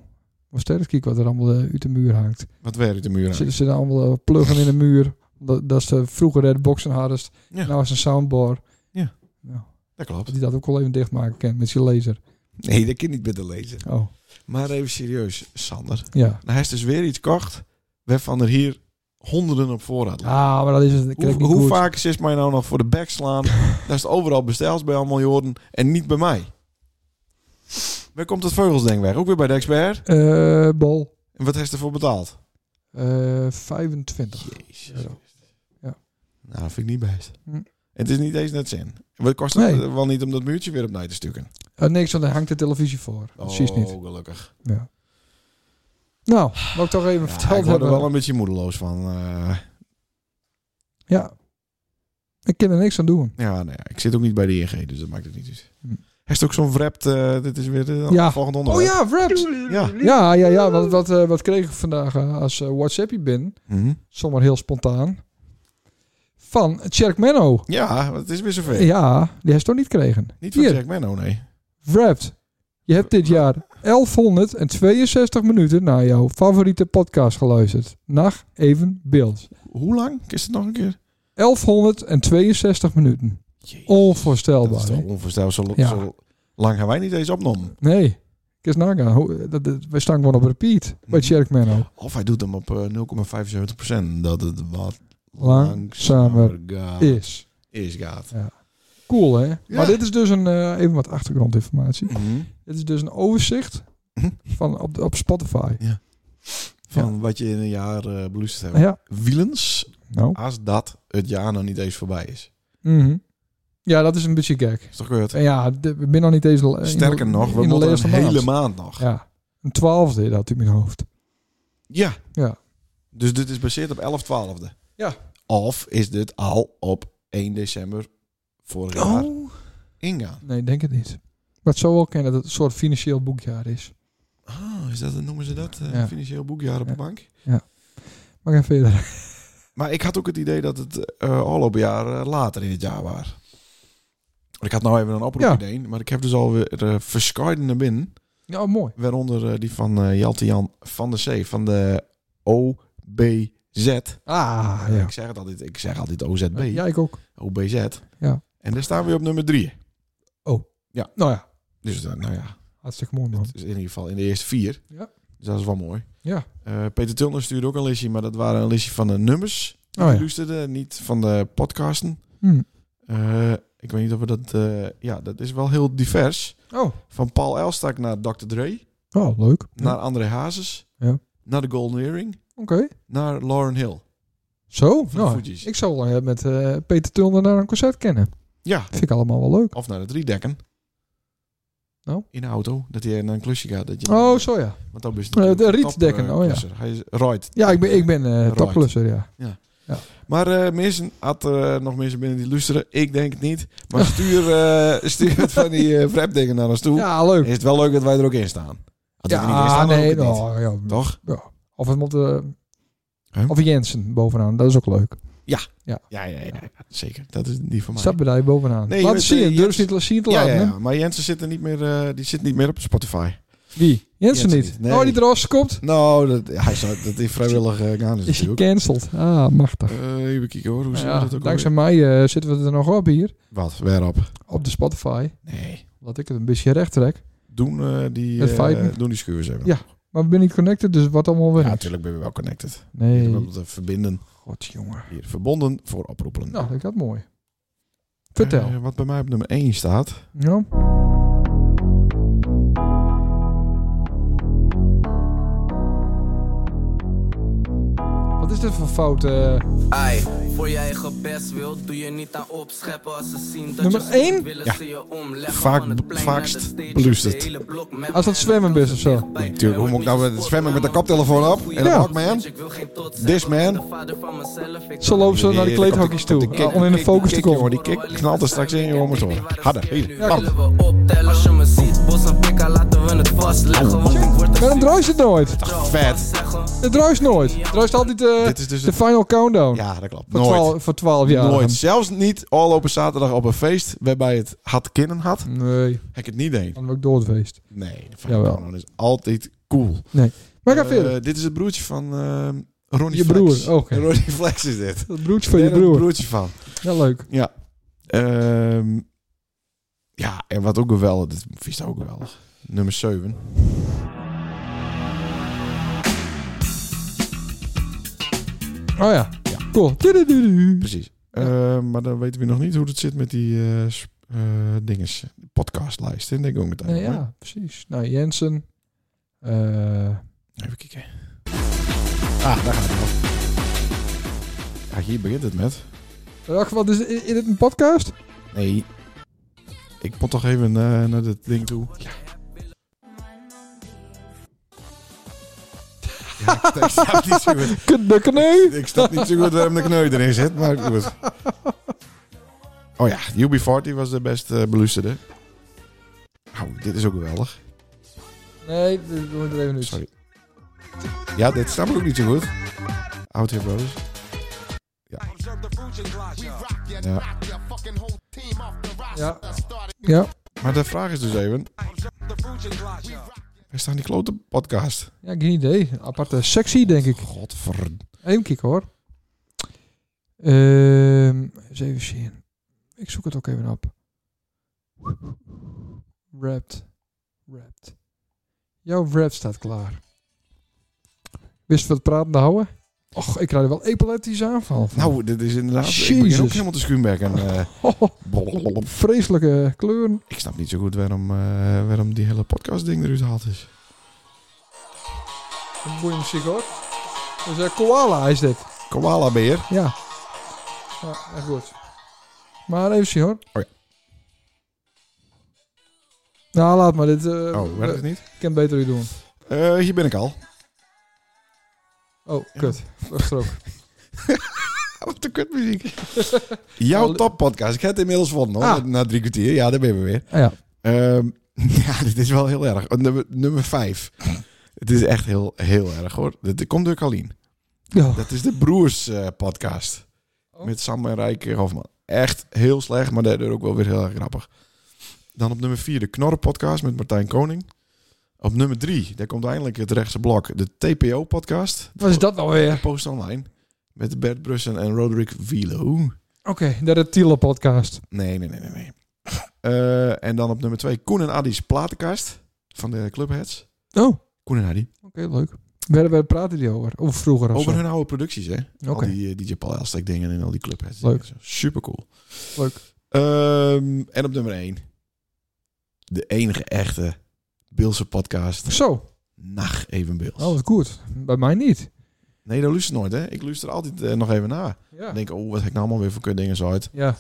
S2: Was sterk kijk wat er allemaal eh, uit de muur hangt.
S3: Wat werkt de muur aan?
S2: Zitten ze dan allemaal eh, pluggen in de muur. Dat, dat ze vroeger de boxen hadden.
S3: Ja.
S2: Nou is een soundbar.
S3: Dat klopt.
S2: Dat die dat ook wel even dichtmaken kan met zijn laser.
S3: Nee, dat kan niet met de lezer.
S2: Oh,
S3: Maar even serieus, Sander.
S2: ja.
S3: Nou, hij is dus weer iets kocht waarvan er hier honderden op voorraad liggen.
S2: Ah, maar dat is het. Dat krijg ik
S3: hoe
S2: niet
S3: hoe
S2: goed.
S3: vaak is mij nou nog voor de bek slaan? dat is het overal besteld bij allemaal Jorden en niet bij mij. Waar komt dat vogelsding weg? Ook weer bij de expert.
S2: Eh, bal.
S3: En wat heeft ervoor betaald?
S2: Eh, 25.
S3: Jezus.
S2: Euro. Ja.
S3: Nou, dat vind ik niet best.
S2: Hm.
S3: Het is niet eens net zin. Wat kost het
S2: Nee.
S3: eh, wel niet om dat muurtje weer op te stukken?
S2: Eh, niks, want daar hangt de televisie voor.
S3: Oh.
S2: Precies niet.
S3: gelukkig.
S2: Ja. Nou, mag ik toch even
S3: Ja, ik
S2: verteld
S3: word er
S2: hebben.
S3: wel een beetje moedeloos van. eh.
S2: Ja. Ik kan er niks aan doen.
S3: Ja, nou ja, ik zit ook niet bij de ING, dus dat maakt het niet uit.
S2: Hm.
S3: Hij is ook zo'n wrapped, eh, dit is weer de
S2: Ja.
S3: volgende
S2: Oh
S3: onderwerp.
S2: ja, wraps.
S3: ja.
S2: Ja, ja, ja. Wat, wat, eh, wat kreeg ik vandaag eh, als eh, WhatsAppje ben?
S3: Mhm.
S2: Zomaar heel spontaan. Van Tjerk Menno.
S3: Ja, want het is weer zover.
S2: Ja, die heeft toch niet gekregen.
S3: Niet van
S2: Hier,
S3: Jack Menno, nee.
S2: Wrapped. Je hebt dit jaar 1162 minuten naar jouw favoriete podcast geluisterd. Nacht even beeld.
S3: Hoe lang? Is het nog een keer?
S2: 1162 minuten.
S3: Jezus, Dat
S2: Onvoorstelbaar.
S3: is toch
S2: hè?
S3: onvoorstelbaar. Zo,
S2: Ja.
S3: zo lang gaan wij niet eens opnomen.
S2: Nee, ik eens nagaan. Hoe- dat- dat- Wij staan gewoon op repeat
S3: Mhm.
S2: bij Tjerk Menno.
S3: Of hij doet hem op eh, 0,75 Dat het wat
S2: Langzamer
S3: gaat-
S2: is.
S3: is gaat.
S2: Cool, hè?
S3: Ja.
S2: Maar dit is dus een... eh, even wat achtergrondinformatie.
S3: Mhm.
S2: Dit is dus een overzicht
S3: Mhm.
S2: van op, op Spotify.
S3: Van wat je in een jaar eh beluisterd hebt.
S2: Ja,
S3: Wielens,
S2: nou.
S3: als dat het jaar nog niet eens voorbij is.
S2: Mhm. Ja, dat is een beetje gek.
S3: Is toch eh, gebeurd?
S2: En ja, de- we zijn nog niet eens... Eh, in de-
S3: Sterker nog, we
S2: in de
S3: moeten
S2: laatste
S3: een
S2: maand.
S3: hele maand nog.
S2: Ja, een twaalfde dat in mijn hoofd.
S3: Ja.
S2: Ja.
S3: Dus dit is baseerd op 11 12e.
S2: Ja.
S3: Of is dit al op 1 december vorig
S2: Oh.
S3: jaar ingaan?
S2: Nee, ik denk het niet. Maar het zou wel kennen dat het een soort financieel boekjaar is.
S3: Ah, is dat, noemen ze dat? eh,
S2: Ja.
S3: Financieel boekjaar op
S2: Ja.
S3: de bank?
S2: Maar ga verder.
S3: Maar ik had ook het idee dat het eh afgelopen jaar eh, later in het jaar was. Ik had nou even een oproep
S2: Ja.
S3: idee, maar ik heb dus alweer eh verscheiden naar binnen.
S2: Ja, mooi.
S3: Waaronder eh, die van eh, Jelte Jan van de C van de OBZ.
S2: Ah, ja.
S3: Ik zeg het altijd, ik zeg altijd OZB.
S2: Ja, ik ook.
S3: OBZ.
S2: Ja.
S3: En daar staan we op nummer 3.
S2: Nou ja,
S3: Dus eh, nou ja,
S2: hartstikke mooi man.
S3: Het is in ieder geval in de eerste vier.
S2: Ja.
S3: Dus dat is wel mooi.
S2: Ja.
S3: Eh, Peter Tilner stuurde ook een listje, maar dat waren een listje van de nummers. Die
S2: Oh
S3: hij
S2: ja.
S3: luisterde, niet van de podcasten.
S2: Hm.
S3: Eh, ik weet niet of we dat... eh, ja, dat is wel heel divers.
S2: Oh.
S3: Van Paul Elstak naar Dr. Dre.
S2: Oh, leuk. Ja,
S3: Naar André Hazes.
S2: Ja.
S3: Naar de Golden Earring.
S2: Oké.
S3: Naar Lauren Hill.
S2: Zo?
S3: de
S2: Nou,
S3: Fuji's.
S2: ik zou wel eh, met eh, Peter Tulner naar een concert kennen.
S3: Ja,
S2: Vind ik allemaal wel leuk.
S3: of naar de Driedekken.
S2: Nou?
S3: In de auto, dat hij naar een klusje gaat. Dat je
S2: Oh, zo ja.
S3: Want dan is het
S2: Eh, de
S3: natuurlijk een
S2: Rietdekken,
S3: top, eh,
S2: oh ja.
S3: klusser. Hij is Royd.
S2: Ja, ik ben, ik ben eh,
S3: Right.
S2: topklusser, ja.
S3: Maar eh, mensen, had er eh, nog mensen binnen die luisteren? Ik denk het niet.
S2: [LAUGHS]
S3: Maar stuur, eh, stuur het van die eh wrapdingen naar ons toe.
S2: Ja, leuk.
S3: Is het wel leuk dat wij er ook in staan? Als we er niet in
S2: Ja,
S3: staan, dan
S2: nee.
S3: ook het niet.
S2: nou, ja.
S3: Toch?
S2: Of het moet... eh,
S3: Huh?
S2: Of Jensen bovenaan, dat is ook leuk.
S3: Ja, ja, ja, ja, zeker. Dat is niet voor mij.
S2: Staat bij daar bovenaan.
S3: Nee, je
S2: Laat
S3: bent,
S2: zien,
S3: eh,
S2: durf
S3: Jensen-
S2: ze niet zien te
S3: ja,
S2: laten.
S3: ja,
S2: hè?
S3: ja, maar Jensen zit er niet meer, eh, die zit niet meer op Spotify.
S2: Wie? Jensen,
S3: Jensen
S2: niet.
S3: niet, nee.
S2: Oh, die eruit komt?
S3: Nou, dat, hij zou, dat [LAUGHS] is vrijwillig eh, gaan is
S2: Is
S3: natuurlijk. ook.
S2: gecanceld. Ah, machtig.
S3: Eh, even kijken hoor, hoe
S2: Nou
S3: zien
S2: ja,
S3: we dat ook
S2: dankzij mij eh, zitten we er nog op hier.
S3: alweer? Wat, waarop?
S2: Op de Spotify.
S3: Nee.
S2: Laat ik het een beetje recht trek.
S3: Doen, eh, die,
S2: Het
S3: eh,
S2: feiten.
S3: doen die schuurs even.
S2: Ja, Maar we zijn niet connected, dus wat allemaal weer.
S3: Ja, natuurlijk ben je wel connected. Je
S2: nee.
S3: moet het verbinden.
S2: God, jongen.
S3: Hier, verbonden voor oproepen.
S2: Nou, dat gaat mooi. Vertel.
S3: Eh, wat bij mij op nummer 1 staat.
S2: ja? Wat is dit voor fout? eh?
S5: Ai, voor je eigen best wil, doe je niet aan opscheppen als ze zien dat
S2: Nummer
S5: je
S2: één?
S5: stopt, willen
S3: Ja.
S5: ze je omleggen
S3: Vaak-
S5: van het plein
S3: vaakst
S5: naar de stage,
S3: blust het.
S5: de hele blok met
S2: Als dat zwemmen is of zo.
S5: mij.
S3: Natuurlijk, hoe moet ik nou met het zwemmen met de koptelefoon op? En
S2: Ja.
S3: dan Walkman?
S5: Ik wil geen trots
S3: This
S5: zeggen, want
S3: man.
S5: de vader van mezelf, ik
S2: Zo loopt ze naar de
S3: Heerlijk,
S2: kleedhokjes
S3: op die- op die
S2: toe.
S3: kick,
S2: Om in de
S3: die
S2: focus te
S3: kick,
S2: komen.
S3: jongen, die kick knalt er straks in, jongen, moet horen. Harder, hier,
S5: Ja,
S3: bam.
S5: Willen we optellen als je me ziet, bos en pika, laten we het vastleggen. Want ik word
S2: Waarom druist het nooit?
S3: Vet.
S2: Het druist nooit. Het druist altijd eh,
S3: Dit is dus
S2: de
S3: een-
S2: final countdown.
S3: Ja, dat klopt.
S2: voor,
S3: Nooit.
S2: 12, voor 12 jaar.
S3: Nooit. Zelfs niet al op een zaterdag op een feest waarbij het had kinderen had.
S2: Nee,
S3: Heb ik het niet deed.
S2: dan ben ik door het feest.
S3: Nee, de
S2: Jawel.
S3: Vakantie is altijd cool.
S2: Maar ga
S3: Eh,
S2: verder.
S3: Dit is het broertje van eh, Ronnie
S2: Je
S3: Flex.
S2: broer, Oh, oké.
S3: Ronnie Flex is dit.
S2: Dat broertje van je
S3: Daar heb ik
S2: broer.
S3: Het broertje van.
S2: Ja, leuk.
S3: Ehm, ja, en wat ook geweldig. Dit vies ook geweldig. Nummer 7.
S2: Oh ja.
S3: Ja.
S2: Cool. Tudududu.
S3: Precies. Eh, maar dan weten we nog niet hoe het zit met die eh, s- eh, dinges. Podcastlijst. hè, Denk ik ook meteen.
S2: Nee,
S3: hoor.
S2: Nou ja, precies. Nou, Jensen. Eh,
S3: Even kijken. Ah, daar gaat het wel. Ja, hier begint het met.
S2: wacht, wat is, is dit een podcast?
S3: Nee. Ik moet toch even eh, naar dit ding toe. Ja. ik, ik snap niet zo goed.
S2: Kutbukken, nee.
S3: [LAUGHS] Ik snap niet zo goed waarom de kneu erin zit, maar goed. Oh ja, UB40 was de best eh, belusterde. Oh, dit is ook geweldig.
S2: Nee, we moeten even nu.
S3: Sorry. Ja, dit snap ik ook niet zo goed. Out here, brothers. Ja. ja.
S2: Ja. Ja.
S3: Maar de vraag is dus even... Waar staan die klote podcast?
S2: Ja, geen idee. Een aparte sectie, denk ik.
S3: Godver...
S2: Even kijken hoor. Ehm eens even zien. Ik zoek het ook even op. Wrapped. Wrapped. Jouw wrap staat klaar. Wist wat praten houden? Och, ik krijg er wel epileptische aanval. van.
S3: Nou, dit is inderdaad... Ik
S2: Jezus.
S3: begin ook helemaal te schuimbekken. eh, blablabla.
S2: [LAUGHS] vreselijke kleuren.
S3: ik snap niet zo goed waarom, eh, waarom die hele podcast ding eruit haalt is.
S2: Een mooie muziek hoor. Dus eh, koala is dit.
S3: Koala beer.
S2: Ja. Ja, echt goed. Maar even zien hoor.
S3: Oh ja.
S2: Nou, laat maar. Dit eh,
S3: Oh, werkt
S2: eh,
S3: het niet?
S2: ik kan beter u doen.
S3: Eh, hier ben ik al.
S2: Oh, kut. Dat is er
S3: [LAUGHS]
S2: ook.
S3: Wat een kutmuziek. [LAUGHS] Jouw toppodcast. Ik heb het inmiddels gewonnen hoor.
S2: Ah.
S3: Na drie kwartier. Ja, daar ben je weer.
S2: Ah, ja.
S3: Ehm, [LAUGHS] ja, dit is wel heel erg. Oh, Nummer, nummer vijf. Het is echt heel, heel erg hoor. Dit komt door Kalien.
S2: Ja.
S3: Dat is de Broers eh, podcast.
S2: Oh.
S3: Met Sam en Rijke Hofman. Echt heel slecht, maar daardoor ook wel weer heel erg grappig. Dan op nummer 4 de Knorren podcast met Martijn Koning. Op nummer 3, daar komt eindelijk het rechtse blok, de TPO podcast.
S2: Wat is dat nou weer?
S3: Post online. Met Bert Brussen en Roderick Vilo.
S2: Oké, de Reptiele podcast.
S3: Nee, nee, nee, nee. nee. Eh, en dan op nummer 2 Koen en Adi's platenkast van de Clubheads.
S2: Oh, oké,
S3: Koen en Adi.
S2: leuk. Waar, waar praten die over? Of vroeger of zo?
S3: Over hun oude producties, hè?
S2: Oké,
S3: Al die eh, DJ Paul Elstek dingen en al die clubheads.
S2: Leuk.
S3: Super cool.
S2: leuk.
S3: en op nummer 1. De enige echte Beelse podcast.
S2: Zo.
S3: Nacht even Beels.
S2: Oh, wat goed. Bij mij niet.
S3: Nee, dat luistert nooit, hè? Ik luister altijd eh, nog even na.
S2: Ja.
S3: Ik denk, oh, wat heb ik nou allemaal weer voor kut dingen zo uit.
S2: ja.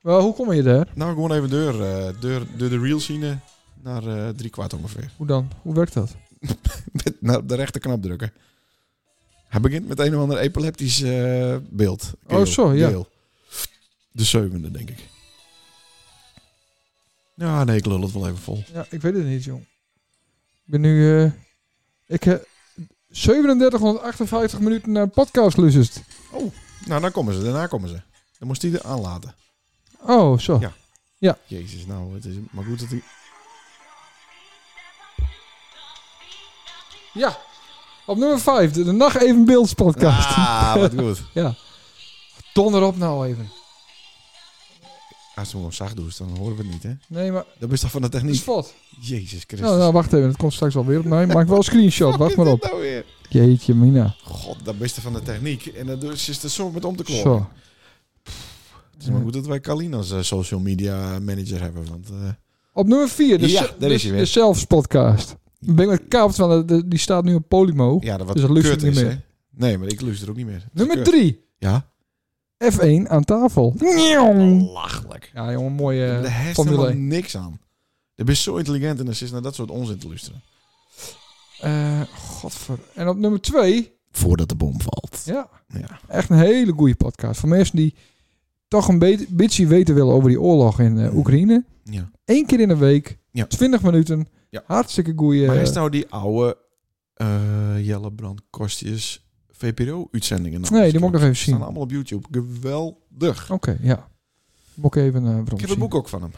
S2: Maar hoe kom je daar?
S3: Nou, gewoon even deur, eh deur, deur de real scene naar eh, drie kwart ongeveer. [LAUGHS]
S2: Hoe dan? Hoe werkt dat?
S3: Met naar de rechterknop drukken. Hij begint met een of ander epileptisch eh, beeld.
S2: Oh, zo, ja.
S3: Geel. De zevende, denk ik. Ja, nee, ik lul het wel even vol.
S2: Ja, ik weet het niet, jong. Ik ben nu... eh, ik heb 3758 minuten naar een podcast geluisterd.
S3: Nou, dan komen ze. Daarna komen ze. Dan moest hij er aanlaten.
S2: Oh, zo.
S3: Ja. Jezus, nou, het is maar goed dat
S2: [LAUGHS]
S3: hij...
S2: Ja. Op nummer 5, de, de Nacht Even Beelds podcast.
S3: Ah, wat goed.
S2: Ja. Donder op nou even.
S3: Als ze hem gewoon zacht doet, dan horen we het niet, hè?
S2: Nee, maar...
S3: Dat is toch van de
S2: Het is
S3: techniek?
S2: vlot.
S3: Jezus Christus.
S2: Nou, nou, wacht even. Het komt straks alweer op mij. Maak wel een screenshot. Wacht maar
S3: [LAUGHS]
S2: op.
S3: Nou weer.
S2: Jeetje, Mina.
S3: God, dat is toch van de techniek. En dan doet- ze is er zo met om te kloppen. Dus
S2: Zo.
S3: Het is maar goed dat wij Kalien als eh, social media manager hebben. Want eh,
S2: Op nummer 4, de,
S3: Ja,
S2: se-
S3: daar
S2: de-
S3: is hij weer.
S2: de Selfs podcast. Ik ben met kapt, want eh, de- die staat nu op Polymo.
S3: ja, dat wat
S2: Dus dat lukt
S3: kut
S2: niet
S3: is,
S2: meer.
S3: hè? Nee, maar ik luister ook niet meer. eh,
S2: Nummer 3.
S3: Ja.
S2: F1 aan tafel.
S3: Belachelijk.
S2: Ja, jongen, mooie
S3: Daar
S2: eh,
S3: heeft
S2: Formule
S3: helemaal
S2: 1.
S3: niks aan. Je bent zo intelligent en dan zit je naar dat soort onzin te luisteren.
S2: Eh, godver. En op nummer 2,
S3: Voordat de bom valt.
S2: ja,
S3: Ja.
S2: echt een hele goede podcast. Voor mensen die toch een be- beetje weten willen over die oorlog in eh, Oekraïne.
S3: ja.
S2: Eén keer in de week,
S3: Mm. Ja.
S2: 20 minuten.
S3: Ja.
S2: Hartstikke goeie.
S3: Maar is nou die oude eh Jelle Brand Kostjes VPRO-uitzendingen?
S2: Nee,
S3: nog nou eens
S2: die moet ik nog
S3: kijken?
S2: even
S3: Staan
S2: zien. Oké,
S3: allemaal op YouTube. Geweldig.
S2: ja. Moet ik even eh
S3: Ik heb het boek ook van hem.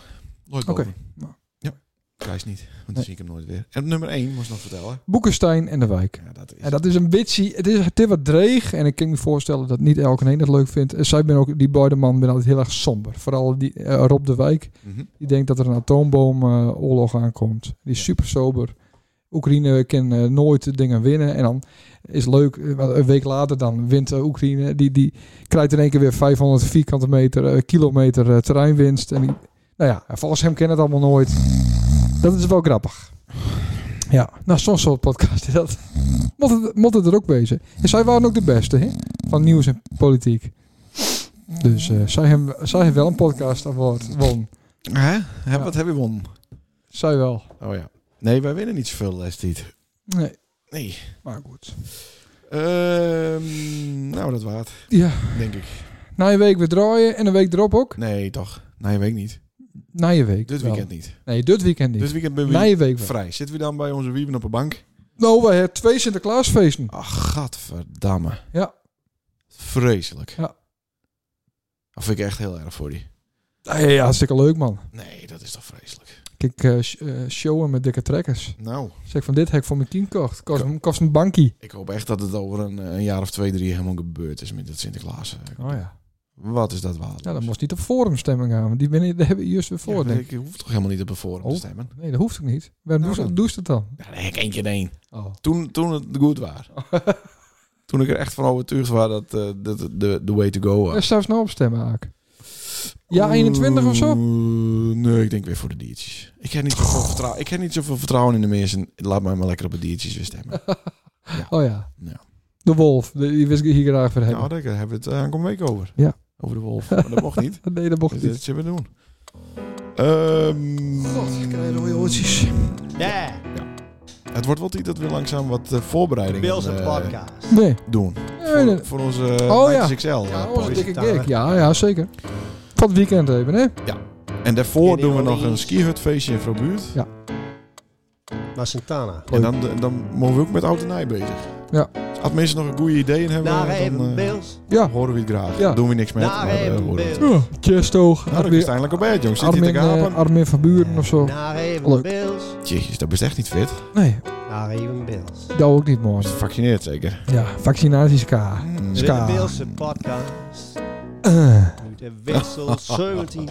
S3: Nooit
S2: Oké.
S3: boven.
S2: Nou.
S3: Ja. Prijs niet, want dan
S2: Nee.
S3: zie ik hem nooit weer. En nummer 1 moest nog vertellen.
S2: Boekenstein en de Wijk.
S3: Ja, dat is.
S2: En dat is een bitchie. Het is het is wat dreig. En ik kan me voorstellen dat niet elke een dat leuk vindt. En Zij ben ook, die beide man ben altijd heel erg somber. Vooral die, eh, Rob de Wijk.
S3: Mhm.
S2: Die denkt dat er een atoomboomoorlog aankomt. Die is super sober. Oekraïne kan eh, nooit dingen winnen. En dan is leuk, eh, want een week later dan wint eh, Oekraïne. Die, die krijgt in één keer weer 500 vierkante meter, eh, kilometer eh, terreinwinst. En die, nou ja, volgens hem kent het allemaal nooit. Dat is wel grappig. Ja, nou soms soort podcast is dat. Moet het, moet het er ook wezen. En zij waren ook de beste hè? van nieuws en politiek. Dus eh, zij, hebben, zij hebben wel een podcast award won.
S3: Hè? Hè,
S2: Ja.
S3: Wat heb je won?
S2: Zij wel.
S3: Oh ja. Nee, wij winnen niet zoveel les dit.
S2: Nee,
S3: Nee.
S2: maar goed.
S3: Ehm, nou, dat waard,
S2: Ja,
S3: denk ik.
S2: na je week weer draaien en een week erop ook.
S3: Nee, toch? Nee, weet ik niet.
S2: Na je week.
S3: Dit
S2: wel.
S3: weekend niet.
S2: Nee, dit weekend niet.
S3: Dit weekend ben
S2: Na je
S3: we
S2: week wel.
S3: vrij. Zitten we dan bij onze wieven op een bank?
S2: Nou, we hebben twee Sinterklaasfeesten.
S3: Ach, gadverdamme.
S2: Ja.
S3: Vreselijk.
S2: Ja.
S3: Dat vind ik echt heel erg voor die.
S2: Nee, ja, hartstikke leuk man.
S3: Nee, dat is toch vreselijk.
S2: Kijk, eh, sh- eh, showen met dikke trekkers.
S3: Nou,
S2: Zeg van dit heb ik voor mijn team kocht. Kost, hem- kost een bankie.
S3: ik hoop echt dat het over een, een jaar of twee, drie helemaal gebeurd is met dat Sinterklaas.
S2: Oh ja.
S3: Wat is dat waard?
S2: Ja, dan moest niet op forumstemming gaan. Want die, ben, die hebben juist weer voor. denk ik.
S3: ik hoef toch helemaal niet op een forum
S2: Oh.
S3: te stemmen.
S2: Nee, dat hoeft ook niet. Waarom
S3: Nou,
S2: doe
S3: dan.
S2: doe ze het dan?
S3: Ja, nee, ik eentje in één.
S2: Oh.
S3: Toen, toen het goed was. [LAUGHS] toen ik er echt van overtuigd was dat eh, dat de de way to go
S2: Daar
S3: was.
S2: zou ze nou op stemmen, Aak. Ja, 21 of zo?
S3: Oeh, Nee, ik denk weer voor de diertjes. Ik heb niet zoveel, vertrouwen, ik heb niet zoveel vertrouwen in de mensen. Laat mij maar lekker op de diertjes weer
S2: [LAUGHS]
S3: stemmen.
S2: Oh ja.
S3: Ja.
S2: De wolf. de- Die wist ik hier graag voor hebben.
S3: Nou, daar hebben we het eh, aankomende week over.
S2: Ja.
S3: Over de wolf. Maar dat mocht niet.
S2: nee, dat mocht
S3: Dus
S2: niet.
S3: dat zullen we doen. Ehm,
S2: God, ik krijg rode oortjes.
S1: Yeah,
S3: het wordt wel tijd dat we langzaam wat eh, voorbereidingen
S1: Bill's a
S3: eh,
S1: podcast.
S2: Nee.
S3: doen.
S2: nee, nee.
S3: Voor, voor onze eh,
S2: Oh, ja.
S3: Nighters XL. eh,
S2: Ja,
S3: podcast.
S2: onze dikke
S1: Daar, hè?
S2: gig. Ja, ja, zeker. Van het weekend even, hè?
S3: En daarvoor doen we nog een
S1: Ineens.
S3: skihutfeestje in Frobuurt.
S1: Naar Santana.
S3: En dan, dan mogen we ook met oud en Nij bezig.
S2: Ja.
S3: Als mensen nog een goede ideeën hebben,
S1: Naar
S3: dan
S1: even
S3: eh,
S1: Bill's.
S2: Ja.
S3: horen we het graag.
S2: Ja.
S3: Doen we niks mee.
S1: Naar even Bill's.
S2: Chestoog.
S3: Nou, dat is eindelijk op bed, jongens. Zit hier te
S2: Armin,
S3: gapen?
S2: eh, Armin van Buren of zo.
S1: Naar
S2: Leuk.
S1: even Bill's.
S3: Jezus, dat is echt niet fit.
S2: Nee,
S1: Naar even Bill's.
S2: dat ook niet mooi.
S3: Is gevaccineerd zeker?
S2: Ja, vaccinaties K.
S3: Hmm.
S1: De
S2: Ah, Ska.
S1: Bill's a podcast.
S2: Eh,
S3: [LAUGHS]
S1: Nu de wissel 17.